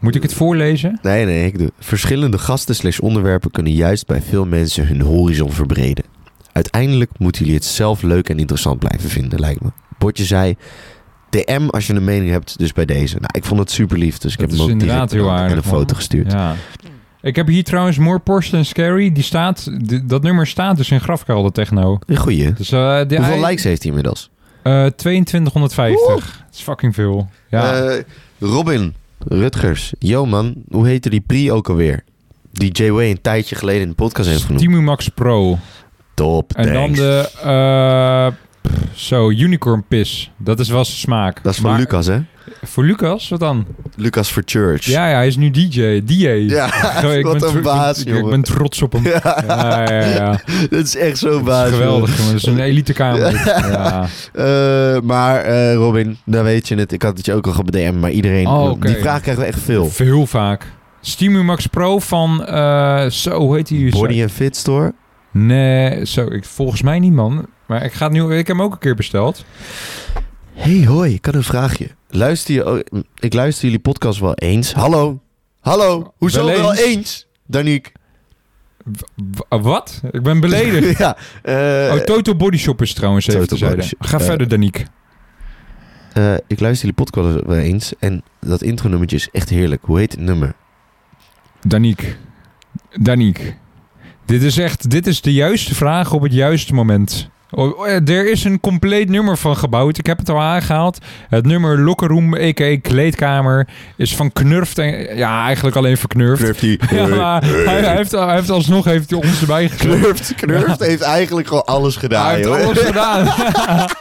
S2: Moet ik het voorlezen?
S1: Nee, nee, ik doe. Verschillende gasten slash onderwerpen kunnen juist bij veel mensen hun horizon verbreden. Uiteindelijk moeten jullie het zelf leuk en interessant blijven vinden, lijkt me. Botje zei, DM als je een mening hebt, dus bij deze. Nou, ik vond het super lief, dus ik
S2: Dat
S1: heb hem
S2: is
S1: ook
S2: inderdaad
S1: direct
S2: heel
S1: bedankt en een
S2: aardig, man.
S1: foto gestuurd.
S2: Ja. Ik heb hier trouwens More Porsche Than Scary. Die staat, die- dat nummer staat dus in Grafkelder Techno.
S1: Een goeie. hè?
S2: Dus, eh, die-
S1: Hoeveel
S2: hij-
S1: likes heeft hij inmiddels?
S2: eh, 2250. Dat is fucking veel. Ja.
S1: Eh, Robin, Rutgers, yo man, hoe heette die pre ook alweer? Die J-Way een tijdje geleden in de podcast heeft genoemd.
S2: Timu Max Pro.
S1: Top,
S2: En dan
S1: thanks.
S2: de... eh, pff, zo, Unicorn Piss. Dat is wel zijn smaak.
S1: Dat is van
S2: Maar-
S1: Lucas, hè?
S2: Voor Lucas? Wat dan?
S1: Lucas for Church.
S2: Ja, ja, hij is nu DJ. DJ.
S1: Ja, (laughs)
S2: Zo,
S1: wat
S2: tro-
S1: een baas,
S2: ik, ben- ik
S1: jongen.
S2: ben
S1: (laughs)
S2: trots op hem. Ja, ja, ja. ja.
S1: Dat is echt zo
S2: Dat
S1: baas.
S2: is
S1: jongen.
S2: geweldig, jongen. Dat is een elite
S1: (laughs)
S2: kamer. Ja.
S1: Eh, maar eh, Robin, dan weet je het. Ik had het je ook al gebedmd, maar iedereen...
S2: Oh, oké.
S1: Die vraag krijgen we echt veel.
S2: Veel vaak. Stimu Max Pro van... eh, zo, hoe heet die?
S1: Body and Fit Store.
S2: Nee, zo, ik, volgens mij niet, man. Maar ik, ga het nu, ik heb hem ook een keer besteld.
S1: Hey, hoi, ik had een vraagje. Luister je, oh, ik luister jullie podcast wel eens. Hallo, hallo, hoezo
S2: Wel
S1: wel eens,
S2: eens?
S1: Danique?
S2: W- wat? Ik
S1: (laughs)
S2: ben beledigd.
S1: ja, eh,
S2: oh, Toto Body Shop is trouwens even
S1: Toto
S2: terzijde.
S1: Body Shop.
S2: Ga
S1: Eh,
S2: verder, Danique.
S1: eh, ik luister jullie podcast wel eens en dat intro nummertje is echt heerlijk. Hoe heet het nummer?
S2: Daniek. Daniek. Dit is echt, dit is de juiste vraag op het juiste moment. Oh, oh, eh, Er is een compleet nummer van gebouwd. Ik heb het al aangehaald. Het nummer Locker Room, a.k.a. Kleedkamer, is van Knurft. En, ja, eigenlijk alleen verknurft.
S1: Knurftie.
S2: (laughs) Ja, maar hij, hij heeft, hij heeft alsnog heeft hij ons erbij geknurft.
S1: Knurft, Knurft heeft eigenlijk gewoon alles gedaan,
S2: Hij heeft
S1: joh.
S2: alles gedaan.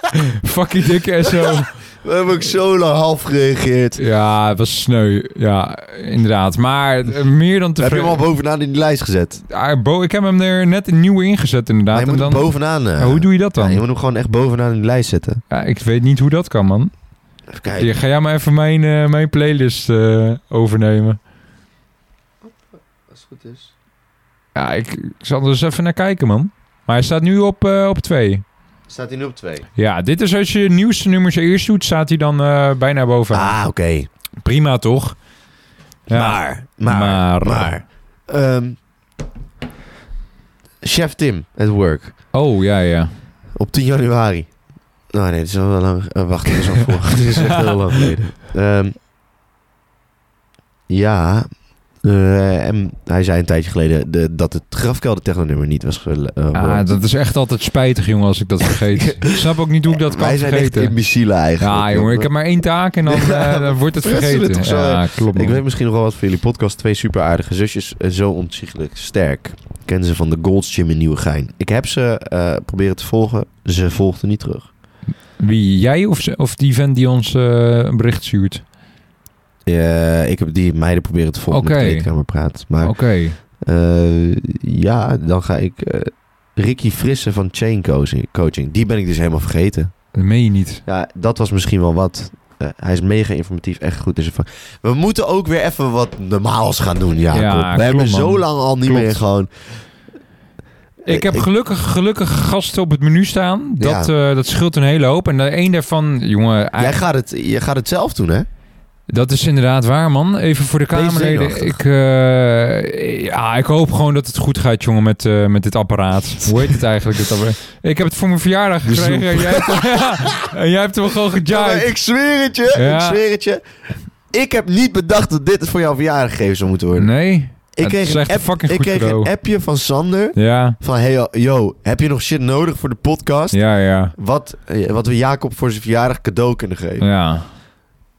S2: (laughs) Fucking dikke SO.
S1: We hebben ook zo lang half gereageerd.
S2: Ja, het was sneu. Ja, inderdaad. Maar eh, meer dan
S1: Heb je hem
S2: tevreden.
S1: al bovenaan in die lijst gezet?
S2: Ah, Bo, ik heb hem er net een nieuwe ingezet inderdaad.
S1: Hij moet
S2: en
S1: hem
S2: dan,
S1: bovenaan... eh,
S2: Ja, hoe doe je dat
S1: ja,
S2: dan?
S1: je moet hem gewoon echt bovenaan in die lijst zetten.
S2: Ja, ik weet niet hoe dat kan, man.
S1: Even kijken.
S2: Hier, ga jij maar even mijn, eh, mijn playlist eh, overnemen.
S1: Als het goed is.
S2: Ja, ik, ik zal er eens even naar kijken, man. Maar hij staat nu op, eh, op twee.
S1: Staat hij nu op twee?
S2: Ja, dit is als je nieuwste nummers eerst doet, staat hij dan eh, bijna bovenaan.
S1: Ah, oké.
S2: Prima, toch? Ja.
S1: Maar, maar,
S2: Maar.
S1: maar. Ehm, Chef Tim at work.
S2: Oh, ja, ja.
S1: Op 10 januari. Nou nee, dit is al wel lang... eh, wacht, dit is al
S2: (laughs)
S1: voor. dit is echt heel lang geleden. Ehm, ja... eh, en hij zei een tijdje geleden de- dat het grafkelder technonummer niet was gele- eh,
S2: Ah, dat is echt altijd spijtig, jongen, als ik dat
S1: (laughs)
S2: vergeet. ik snap ook niet hoe ik dat kan
S1: Wij zijn
S2: vergeten.
S1: echt imbecielen eigenlijk.
S2: ja, jongen, ik heb maar één taak en dan,
S1: (laughs) Ja,
S2: eh, dan wordt het
S1: fressen we
S2: vergeten.
S1: toch zo, hè?
S2: Ja, klopt.
S1: Ik
S2: man.
S1: weet misschien nog wel wat voor jullie podcast. Twee super aardige zusjes, eh, zo ontiegelijk sterk. Ik ken ze van de Gold's Gym in Nieuwegein. Ik heb ze eh, proberen te volgen. Ze volgden niet terug.
S2: Wie, jij of, ze- of die vent die ons eh, een bericht stuurt?
S1: Eh, ik heb die meiden proberen te volgen met
S2: Oké.
S1: de kleedkamer praat. Maar
S2: Oké.
S1: eh, ja, dan ga ik eh, Ricky Frissen van Chain Coaching- Coaching. Die ben ik dus helemaal vergeten.
S2: Dat meen je niet.
S1: Ja, dat was misschien wel wat. Eh, hij is mega informatief, echt goed. in zijn vak. we moeten ook weer even wat normaals gaan doen, Jacob.
S2: Ja,
S1: We
S2: klopt,
S1: hebben zo
S2: man.
S1: lang al niet
S2: Klopt.
S1: meer gewoon...
S2: Ik heb
S1: Ik-
S2: gelukkig, gelukkig gasten op het menu staan. Dat, eh dat scheelt een hele hoop. En één daarvan, jongen,
S1: Jij
S2: hij-
S1: gaat het, je gaat het zelf doen, hè?
S2: dat is inderdaad waar, man. Even voor de
S1: Wees
S2: Kamerleden.
S1: zenuwachtig.
S2: Ik, eh, ja, ik hoop gewoon dat het goed gaat, jongen, met, eh, met dit
S1: (laughs)
S2: apparaat. Hoe heet het eigenlijk? Dit apparaat? Ik heb het voor mijn verjaardag
S1: De
S2: gekregen. En jij hebt, en jij hebt (laughs) hem gewoon
S1: Ja, maar
S2: gejaaid.
S1: Oh, ik zweer het je,
S2: Ja.
S1: ik zweer het je. Ik heb niet bedacht dat dit voor jouw verjaardag gegeven zou moeten worden.
S2: Nee?
S1: ik
S2: het
S1: kreeg,
S2: is
S1: een,
S2: echt een
S1: app-
S2: fucking
S1: ik
S2: goed
S1: kreeg
S2: cadeau.
S1: een appje van Sander.
S2: Ja,
S1: Van, hey, yo, yo, heb je nog shit nodig voor de podcast?
S2: ja, ja.
S1: Wat, eh, wat we Jacob voor zijn verjaardag cadeau kunnen geven.
S2: Ja,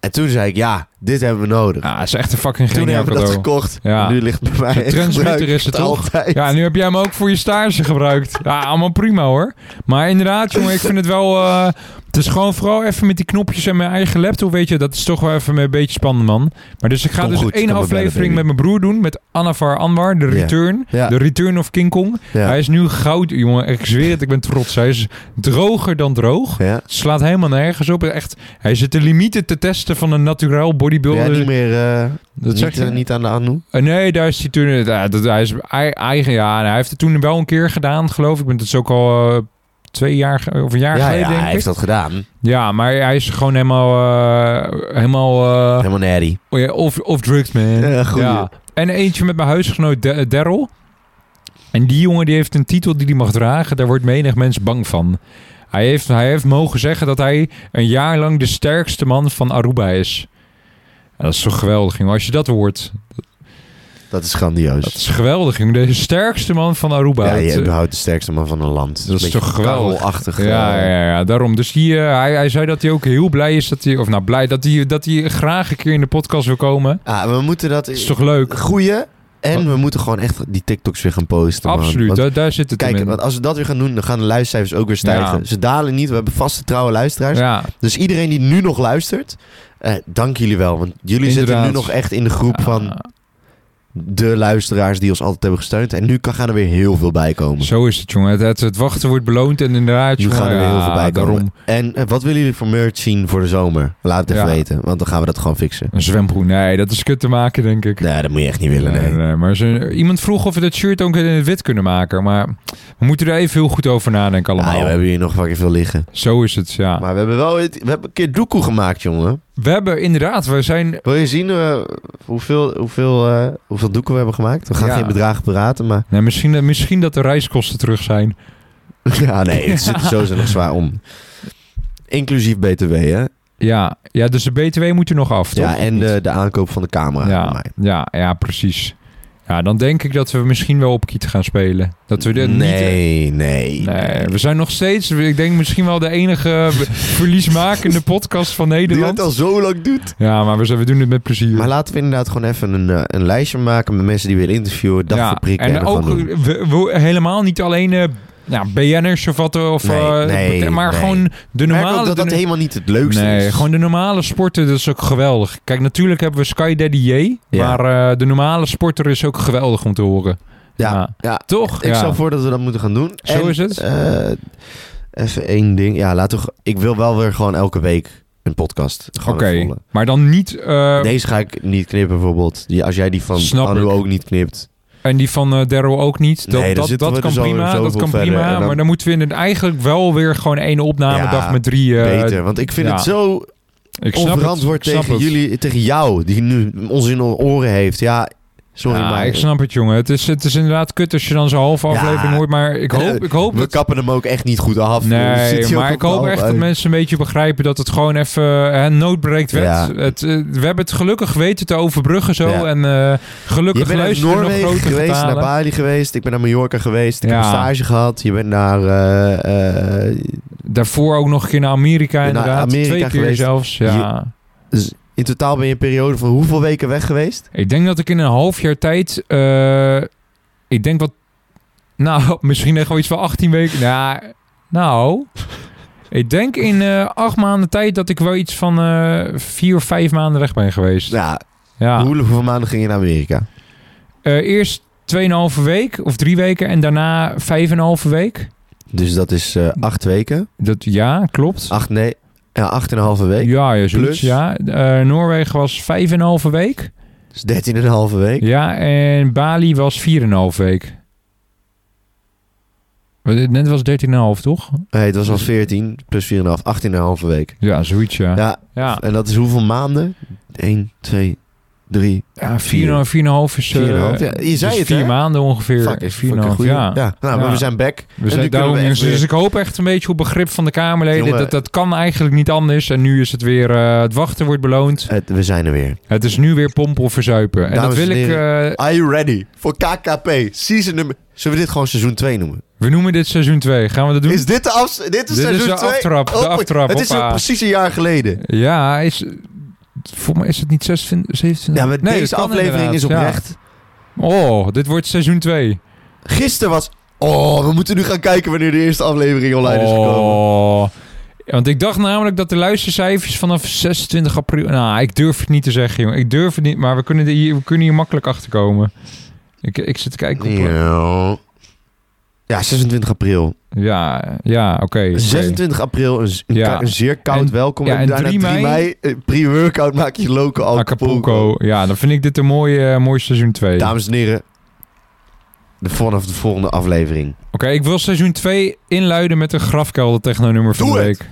S1: En toen zei ik, ja, dit hebben we nodig.
S2: ja het is echt een fucking
S1: toen
S2: geniaal
S1: hebben we dat
S2: cadeau.
S1: gekocht.
S2: Ja.
S1: En Nu ligt het bij mij.
S2: De
S1: in
S2: transmitter
S1: gebruik
S2: is het
S1: voor
S2: toch?
S1: Altijd.
S2: Ja, nu heb jij hem ook voor je stage gebruikt. Ja, allemaal prima hoor. Maar inderdaad, jongen, ik vind het wel. eh, het is gewoon vooral even met die knopjes en mijn eigen laptop. Weet je, dat is toch wel even een beetje spannend, man. Maar dus ik ga
S1: Kom
S2: dus
S1: goed,
S2: één
S1: kom erbij,
S2: aflevering
S1: baby.
S2: met mijn broer doen. Met Anavar Anwar, de
S1: Ja.
S2: Return.
S1: Ja.
S2: De Return of King Kong.
S1: Ja.
S2: Hij is nu goud, jongen. Ik zweer het, ik ben trots. Hij is droger dan droog.
S1: Ja.
S2: Het slaat helemaal nergens op. Echt, hij zit de limieten te testen van een naturel
S1: Ben jij
S2: bodybuilder.
S1: niet meer eh,
S2: dat zeg
S1: niet,
S2: je?
S1: eh, niet aan de aandoen?
S2: Eh, nee, daar is hij toen. eh, dat, hij is ei- eigen. Ja, en hij heeft het toen wel een keer gedaan, geloof ik. Ik ben het dus ook al eh, twee jaar ge- of een jaar
S1: Ja,
S2: geleden,
S1: ja,
S2: denk
S1: hij
S2: ik.
S1: heeft dat gedaan.
S2: Ja, maar hij is gewoon helemaal, eh, helemaal eh,
S1: Helemaal nerdy.
S2: Oh ja, Of, of drugs, man.
S1: Ja, goeie.
S2: En eentje met mijn huisgenoot De- eh, Daryl. En die jongen die heeft een titel die hij mag dragen. Daar wordt menig mens bang van. Hij heeft, hij heeft mogen zeggen dat hij een jaar lang de sterkste man van Aruba is. Ja, dat is zo geweldig, jongen. Als je dat hoort.
S1: Dat is grandioos.
S2: Dat is geweldig, jongen. De sterkste man van Aruba.
S1: Dus- ja, je
S2: Het, eh,
S1: behoudt de sterkste man van een land.
S2: Dat is
S1: een beetje
S2: toch geweldig?
S1: karelachtig,
S2: Ja,
S1: eh,
S2: ja, ja, daarom. Dus die, eh, hij, hij zei dat hij ook heel blij is dat hij, of nou blij, dat hij, dat hij graag een keer in de podcast wil komen.
S1: Ah, we moeten dat...
S2: Dat is toch leuk?
S1: Goeie. En we moeten gewoon echt die TikToks weer gaan posten. man.
S2: Absoluut,
S1: Want,
S2: daar, daar zit het hem
S1: kijk,
S2: in.
S1: want als we dat weer gaan doen, dan gaan de luistercijfers ook weer stijgen.
S2: Ja.
S1: Ze dalen niet. We hebben vaste trouwe luisteraars.
S2: Ja,
S1: Dus iedereen die nu nog luistert, eh, dank jullie wel. Want jullie zitten
S2: Inderdaad.
S1: nu nog echt in de groep van de luisteraars die ons altijd hebben gesteund. En nu kan, gaan er weer heel veel bij komen.
S2: Zo is het, jongen. Het, het, het wachten wordt beloond en inderdaad,
S1: nu
S2: jongen,
S1: gaan er weer heel
S2: ja,
S1: veel bij komen.
S2: daarom
S1: En eh, wat willen jullie voor merch zien voor de zomer? Laat het even
S2: Ja.
S1: weten, want dan gaan we dat gewoon fixen.
S2: een zwembroek. Nee, dat is kut te maken, denk ik.
S1: Nee, dat moet je echt niet willen.
S2: Nee,
S1: Nee.
S2: nee, maar ze- iemand vroeg of we dat shirt ook in het wit kunnen maken. Maar we moeten er even heel goed over nadenken
S1: Ah,
S2: allemaal.
S1: ja, we hebben hier nog fucking veel liggen.
S2: Zo is het, ja.
S1: Maar we hebben wel het- we hebben een keer doekoe gemaakt, jongen.
S2: We hebben inderdaad, we zijn...
S1: Wil je zien eh, hoeveel, hoeveel, eh, hoeveel doeken we hebben gemaakt? We gaan
S2: Ja.
S1: geen bedragen praten, maar... (laughs)
S2: Nee, misschien, eh, misschien dat de reiskosten terug zijn.
S1: ja, nee, het zit sowieso nog zwaar om. Inclusief BTW, hè?
S2: Ja, ja dus de BTW moet er nog af, toch?
S1: Ja, en eh, de, de aankoop van de camera. van
S2: ja,
S1: mij.
S2: ja, ja, precies. Ja, dan denk ik dat we misschien wel op kiet gaan spelen. Dat we er niet eh,
S1: nee, nee,
S2: Nee, we zijn nog steeds, ik denk misschien wel de
S1: (laughs)
S2: enige be- verliesmakende podcast van
S1: Die het
S2: Nederland.
S1: al zo lang doet.
S2: Ja, maar we, zijn, we doen het met plezier.
S1: Maar laten we inderdaad gewoon even een, eh, een lijstje maken met mensen die we willen interviewen. Dat
S2: ja,
S1: verprikken en,
S2: en
S1: er
S2: ook eh,
S1: gewoon doen.
S2: we, we- helemaal niet alleen eh ja, BN'ers of wat, of,
S1: Nee,
S2: eh,
S1: nee,
S2: maar
S1: nee.
S2: gewoon de
S1: Ik merk ook
S2: normale...
S1: dat dat
S2: de-
S1: helemaal niet het leukste
S2: Nee,
S1: is.
S2: gewoon de normale sporten, dat is ook geweldig. Kijk, natuurlijk hebben we Sky Daddy J,
S1: Ja.
S2: maar eh, de normale sporter is ook geweldig om te horen.
S1: Ja,
S2: Ja.
S1: ja.
S2: Toch?
S1: Ik
S2: ja.
S1: stel voor dat we dat moeten gaan doen.
S2: Zo
S1: En,
S2: is het.
S1: eh, even één ding. Ja, laten we, ge- ik wil wel weer gewoon elke week een podcast.
S2: Oké,
S1: Gewoon weer vullen.
S2: maar dan niet... eh,
S1: Deze ga ik niet knippen bijvoorbeeld. Die, als jij die van
S2: Snap
S1: Anu
S2: ik.
S1: ook niet knipt.
S2: En die van eh Daryl ook niet. Dat,
S1: Nee, dan
S2: dat,
S1: zitten
S2: dat
S1: we
S2: kan
S1: er zo-
S2: prima,
S1: zo
S2: dat
S1: veel
S2: kan
S1: verder.
S2: prima.
S1: En dan-
S2: Maar dan moeten we in het eigenlijk wel weer gewoon één opnamedag
S1: Ja,
S2: met drie... eh,
S1: Beter, want ik vind
S2: ja.
S1: het zo
S2: Ik snap
S1: onverantwoord
S2: het, ik snap
S1: tegen
S2: het.
S1: jullie, tegen jou, die nu ons in de oren heeft. Ja, sorry,
S2: Ja,
S1: maar
S2: ik snap het, jongen. Het is, het is inderdaad kut als je dan zo'n halve aflevering hoort. Maar ik hoop, ik hoop
S1: eh, we
S2: dat...
S1: kappen hem ook echt niet goed af. Er zit
S2: Nee,
S1: hier
S2: maar
S1: ook
S2: ik hoop
S1: wel
S2: echt
S1: bij.
S2: dat mensen een beetje begrijpen dat het gewoon even hè, noodbreekt werd.
S1: Ja.
S2: Het, eh, we hebben het gelukkig weten te overbruggen zo.
S1: Ja.
S2: En eh,
S1: Je
S2: gelukkig
S1: bent naar
S2: luisteren er nog
S1: Noorwegen
S2: grote
S1: geweest, naar
S2: getalen.
S1: Bali geweest, ik ben naar Mallorca geweest, ik
S2: Ja.
S1: heb een stage gehad. Je bent naar, eh, eh,
S2: Daarvoor ook nog een keer naar Amerika
S1: Naar
S2: inderdaad.
S1: Amerika
S2: Twee keer
S1: geweest.
S2: zelfs, ja.
S1: in totaal ben je een periode van hoeveel weken weg geweest?
S2: Ik denk dat ik in een half jaar tijd. eh, ik denk wat. Nou, (laughs) misschien echt wel iets van 18 weken. Nou, nou. Ik denk in eh, acht maanden tijd dat ik wel iets van eh, vier of vijf maanden weg ben geweest. Ja.
S1: Ja, Hoe, hoeveel maanden ging je naar Amerika?
S2: Eh, eerst 2,5 week of drie weken en daarna 5,5 week.
S1: Dus dat is eh, acht weken.
S2: Dat, ja, klopt.
S1: Acht, nee, ja, acht en een halve week.
S2: Ja, ja, zoiets,
S1: Ah, Plus?
S2: ja. Eh, Noorwegen was 5,5 week.
S1: Dus dertien en een halve week.
S2: Ja, en Bali was 4,5 week. Wat- Net was 13,5, toch?
S1: Nee, het was al 14 plus 4,5, 18 en een halve week.
S2: Ja, zoiets, ja.
S1: Ja,
S2: Ja,
S1: en dat is hoeveel maanden? 1, 2, 3.
S2: ja 4,5 4,5 is... eh,
S1: 4,5. Ja, je
S2: dus
S1: zei het,
S2: vier
S1: hè?
S2: maanden ongeveer.
S1: Fuck, is
S2: 4,5,
S1: fucking
S2: ja.
S1: goeie. ja. Nou, maar
S2: Ja.
S1: we zijn back.
S2: We zijn
S1: nu
S2: daarom,
S1: kunnen we echt
S2: dus
S1: weer-
S2: ik hoop echt een beetje op begrip van de Kamerleden.
S1: Jongen.
S2: Dat, dat kan eigenlijk niet anders. En nu is het weer... eh, het wachten wordt beloond.
S1: Het- we zijn er weer.
S2: Het is nu weer pompen of verzuipen. En
S1: Dames
S2: dat
S1: en
S2: wil ik... eh,
S1: Are you ready voor KKP season nummer... Zullen we dit gewoon seizoen 2 noemen?
S2: we noemen dit seizoen 2. Gaan we dat doen?
S1: Is dit de af... Dit is
S2: Dit is
S1: seizoen
S2: de
S1: 2?
S2: aftrap, de aftrap,
S1: Het is
S2: hoppa.
S1: al precies een jaar geleden.
S2: Ja, is... Voor mij is het niet 26, 27...
S1: Ja, maar
S2: Nee,
S1: deze
S2: dat kan
S1: aflevering is
S2: inderdaad, ja.
S1: oprecht.
S2: Oh, dit wordt seizoen 2.
S1: Gisteren was... Oh, we moeten nu gaan kijken wanneer de eerste aflevering online is gekomen.
S2: Oh. Want ik dacht namelijk dat de luistercijfers vanaf 26 april... Nou, ik durf het niet te zeggen, jongen. Ik durf het niet, maar we kunnen, er hier, we kunnen hier makkelijk achter komen. Ik, ik zit te kijken op... Ja,
S1: Ja. Ja, 26 april.
S2: ja, ja oké. oké.
S1: 26 april, een, z- een
S2: Ja.
S1: ka- een zeer koud
S2: En-
S1: welkom.
S2: ja,
S1: en
S2: en
S1: daarna 3
S2: 3
S1: mei,
S2: mei-
S1: eh, pre-workout maak je loco Acapulco.
S2: Acapulco. Ja, dan vind ik dit een mooi, eh, mooi seizoen 2.
S1: Dames en heren, de, vanaf de volgende aflevering.
S2: ik wil seizoen 2 inluiden met een grafkelder techno nummer van
S1: Doe
S2: de
S1: het!
S2: week.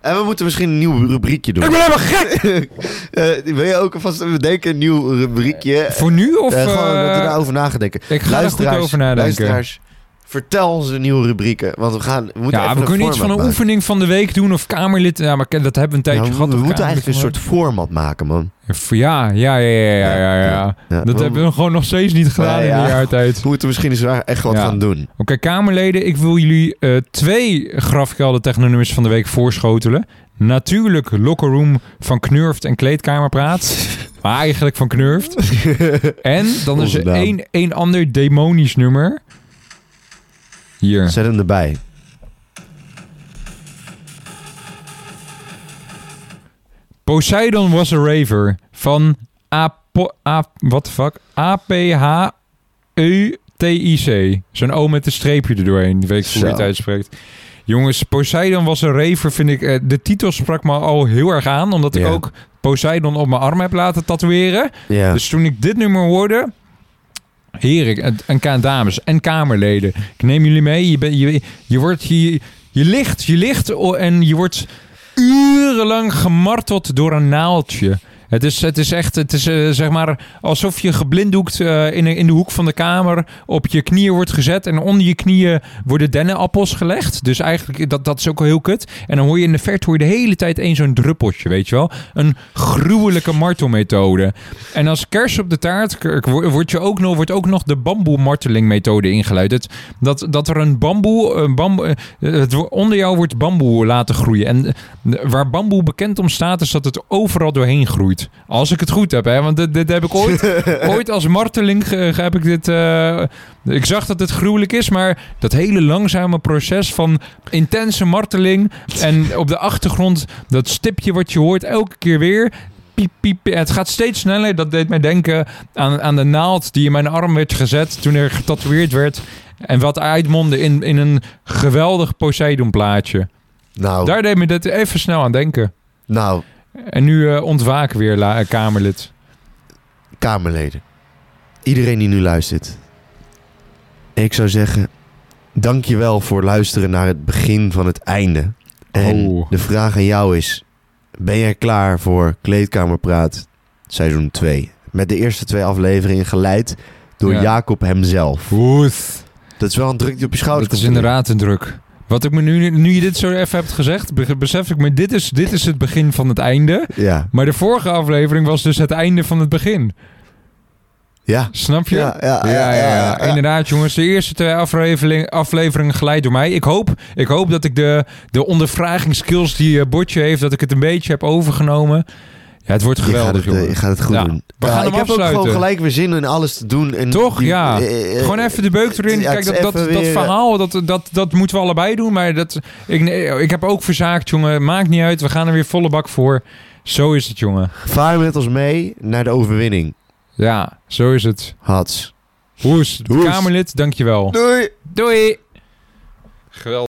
S1: En we moeten misschien een nieuw rubriekje doen.
S2: Ik ben helemaal gek!
S1: (laughs) Eh, wil je ook alvast even denken, een nieuw rubriekje?
S2: Voor nu of...
S1: Eh, gewoon
S2: eh,
S1: dat we daarover na gaan denken.
S2: ik ga er goed over nadenken.
S1: Luisteraars, vertel ons de nieuwe rubrieken. Want we, gaan, we moeten
S2: Ja,
S1: even
S2: we
S1: een
S2: kunnen iets van een
S1: format maken.
S2: oefening van de week doen of Kamerlid. Ja, maar dat hebben we een tijdje
S1: Nou, we-
S2: gehad.
S1: we
S2: of
S1: moeten
S2: Kamerlid
S1: eigenlijk een soort format maken, man.
S2: van- Ja, ja, ja, ja, ja, ja. ja.
S1: Ja,
S2: Dat
S1: we-
S2: hebben we gewoon nog steeds niet gedaan
S1: Nee,
S2: in
S1: ja.
S2: de jaartijd.
S1: we moeten misschien eens waar- echt wat
S2: Ja.
S1: gaan doen.
S2: Oké, Kamerleden, ik wil jullie eh, twee grafkelder technonummers van de week voorschotelen. Natuurlijk Locker Room van Knurft en Kleedkamerpraat. maar eigenlijk van Knurft. en dan is
S1: Onze
S2: er
S1: naam.
S2: één, één ander demonisch nummer. Hier.
S1: Zet hem erbij.
S2: Poseidon was a raver van Apo, A... What the fuck? E A-P-H-E-T-I-C. Zo'n O met een streepje erdoorheen. Die weet ik hoe je het
S1: Zo.
S2: uitspreekt. Jongens, Poseidon was een raver, vind ik. eh, De titel sprak me al heel erg aan, omdat
S1: Ja.
S2: ik ook Poseidon op mijn arm heb laten tatoeëren.
S1: Ja.
S2: Dus toen ik dit nummer hoorde... Heren en- en ka- dames en kamerleden, ik neem jullie mee. Je, bent- je, je wordt hier... Je ligt, je ligt o- en je wordt urenlang gemarteld door een naaldje. Het is, het is echt, het is eh, zeg maar alsof je geblinddoekt eh, in, in de hoek van de kamer op je knieën wordt gezet. En onder je knieën worden dennenappels gelegd. Dus eigenlijk, dat, dat is ook al heel kut. En dan hoor je in de verte hoor je de hele tijd één zo'n druppeltje, weet je wel. Een gruwelijke martelmethode. En als kers op de taart k- k- wo- wordt, je ook nog, wordt ook nog de bamboe-marteling-methode ingeluid. Het- dat, dat er een bamboe, een bamboe eh, het, wo- onder jou wordt bamboe laten groeien. En eh, waar bamboe bekend om staat, is dat het overal doorheen groeit. Als ik het goed heb, hè? want dit, dit heb ik ooit, ooit als marteling ge- ge- heb ik dit. eh, ik zag dat het gruwelijk is, maar dat hele langzame proces van intense marteling en op de achtergrond dat stipje wat je hoort elke keer weer. Piep, piep, piep. Het gaat steeds sneller. Dat deed mij denken aan, aan de naald die in mijn arm werd gezet toen er getatoeëerd werd. En wat uitmondde in, in een geweldig Poseidon plaatje.
S1: Nou,
S2: Daar deed me dit even snel aan denken.
S1: nou,
S2: En nu eh, ontwaak weer, la- eh, Kamerlid.
S1: Kamerleden. Iedereen die nu luistert. Ik zou zeggen, dankjewel voor luisteren naar het begin van het einde. En
S2: Oh.
S1: de vraag aan jou is, ben jij klaar voor Kleedkamerpraat seizoen 2? Met de eerste twee afleveringen geleid door
S2: Ja.
S1: Jacob hemzelf.
S2: Goed.
S1: Dat is wel een druk die op je schouders
S2: Dat is
S1: komt te
S2: inderdaad een druk. Wat ik me nu, nu je dit zo even hebt gezegd, be- besef ik me, dit is, dit is het begin van het einde.
S1: liggen. Ja,
S2: Maar de vorige aflevering was dus het einde van het begin.
S1: ja.
S2: Snap je?
S1: Ja, ja,
S2: Ja, ja, ja.
S1: ja.
S2: inderdaad jongens. De eerste twee aflevering, afleveringen geleid door mij. Ik hoop, ik hoop dat ik de, de ondervragingsskills die eh, Botje heeft, dat ik het een beetje heb overgenomen. Ja, het wordt
S1: Je gaat,
S2: geweldig,
S1: het, eh,
S2: jongen.
S1: je gaat het goed
S2: Ja,
S1: doen.
S2: we gaan
S1: Ja,
S2: hem
S1: ik heb ook
S2: afsluiten.
S1: gewoon gelijk weer zin in alles te doen. En
S2: Toch? Ja.
S1: eh, eh,
S2: Gewoon even de beuk erin.
S1: ja, het
S2: Kijk, dat,
S1: is
S2: dat,
S1: even
S2: dat
S1: weer, eh,
S2: verhaal, dat, dat, dat moeten we allebei doen. Maar dat, ik, nee, ik heb ook verzaakt, jongen. Maakt niet uit. We gaan er weer volle bak voor. Zo is het, jongen.
S1: eh, Vaar met ons mee naar de overwinning.
S2: Ja, zo is het.
S1: Hats.
S2: Hoes,
S1: Hoes.
S2: Kamerlid, dankjewel.
S1: Doei!
S2: Doei. Geweldig.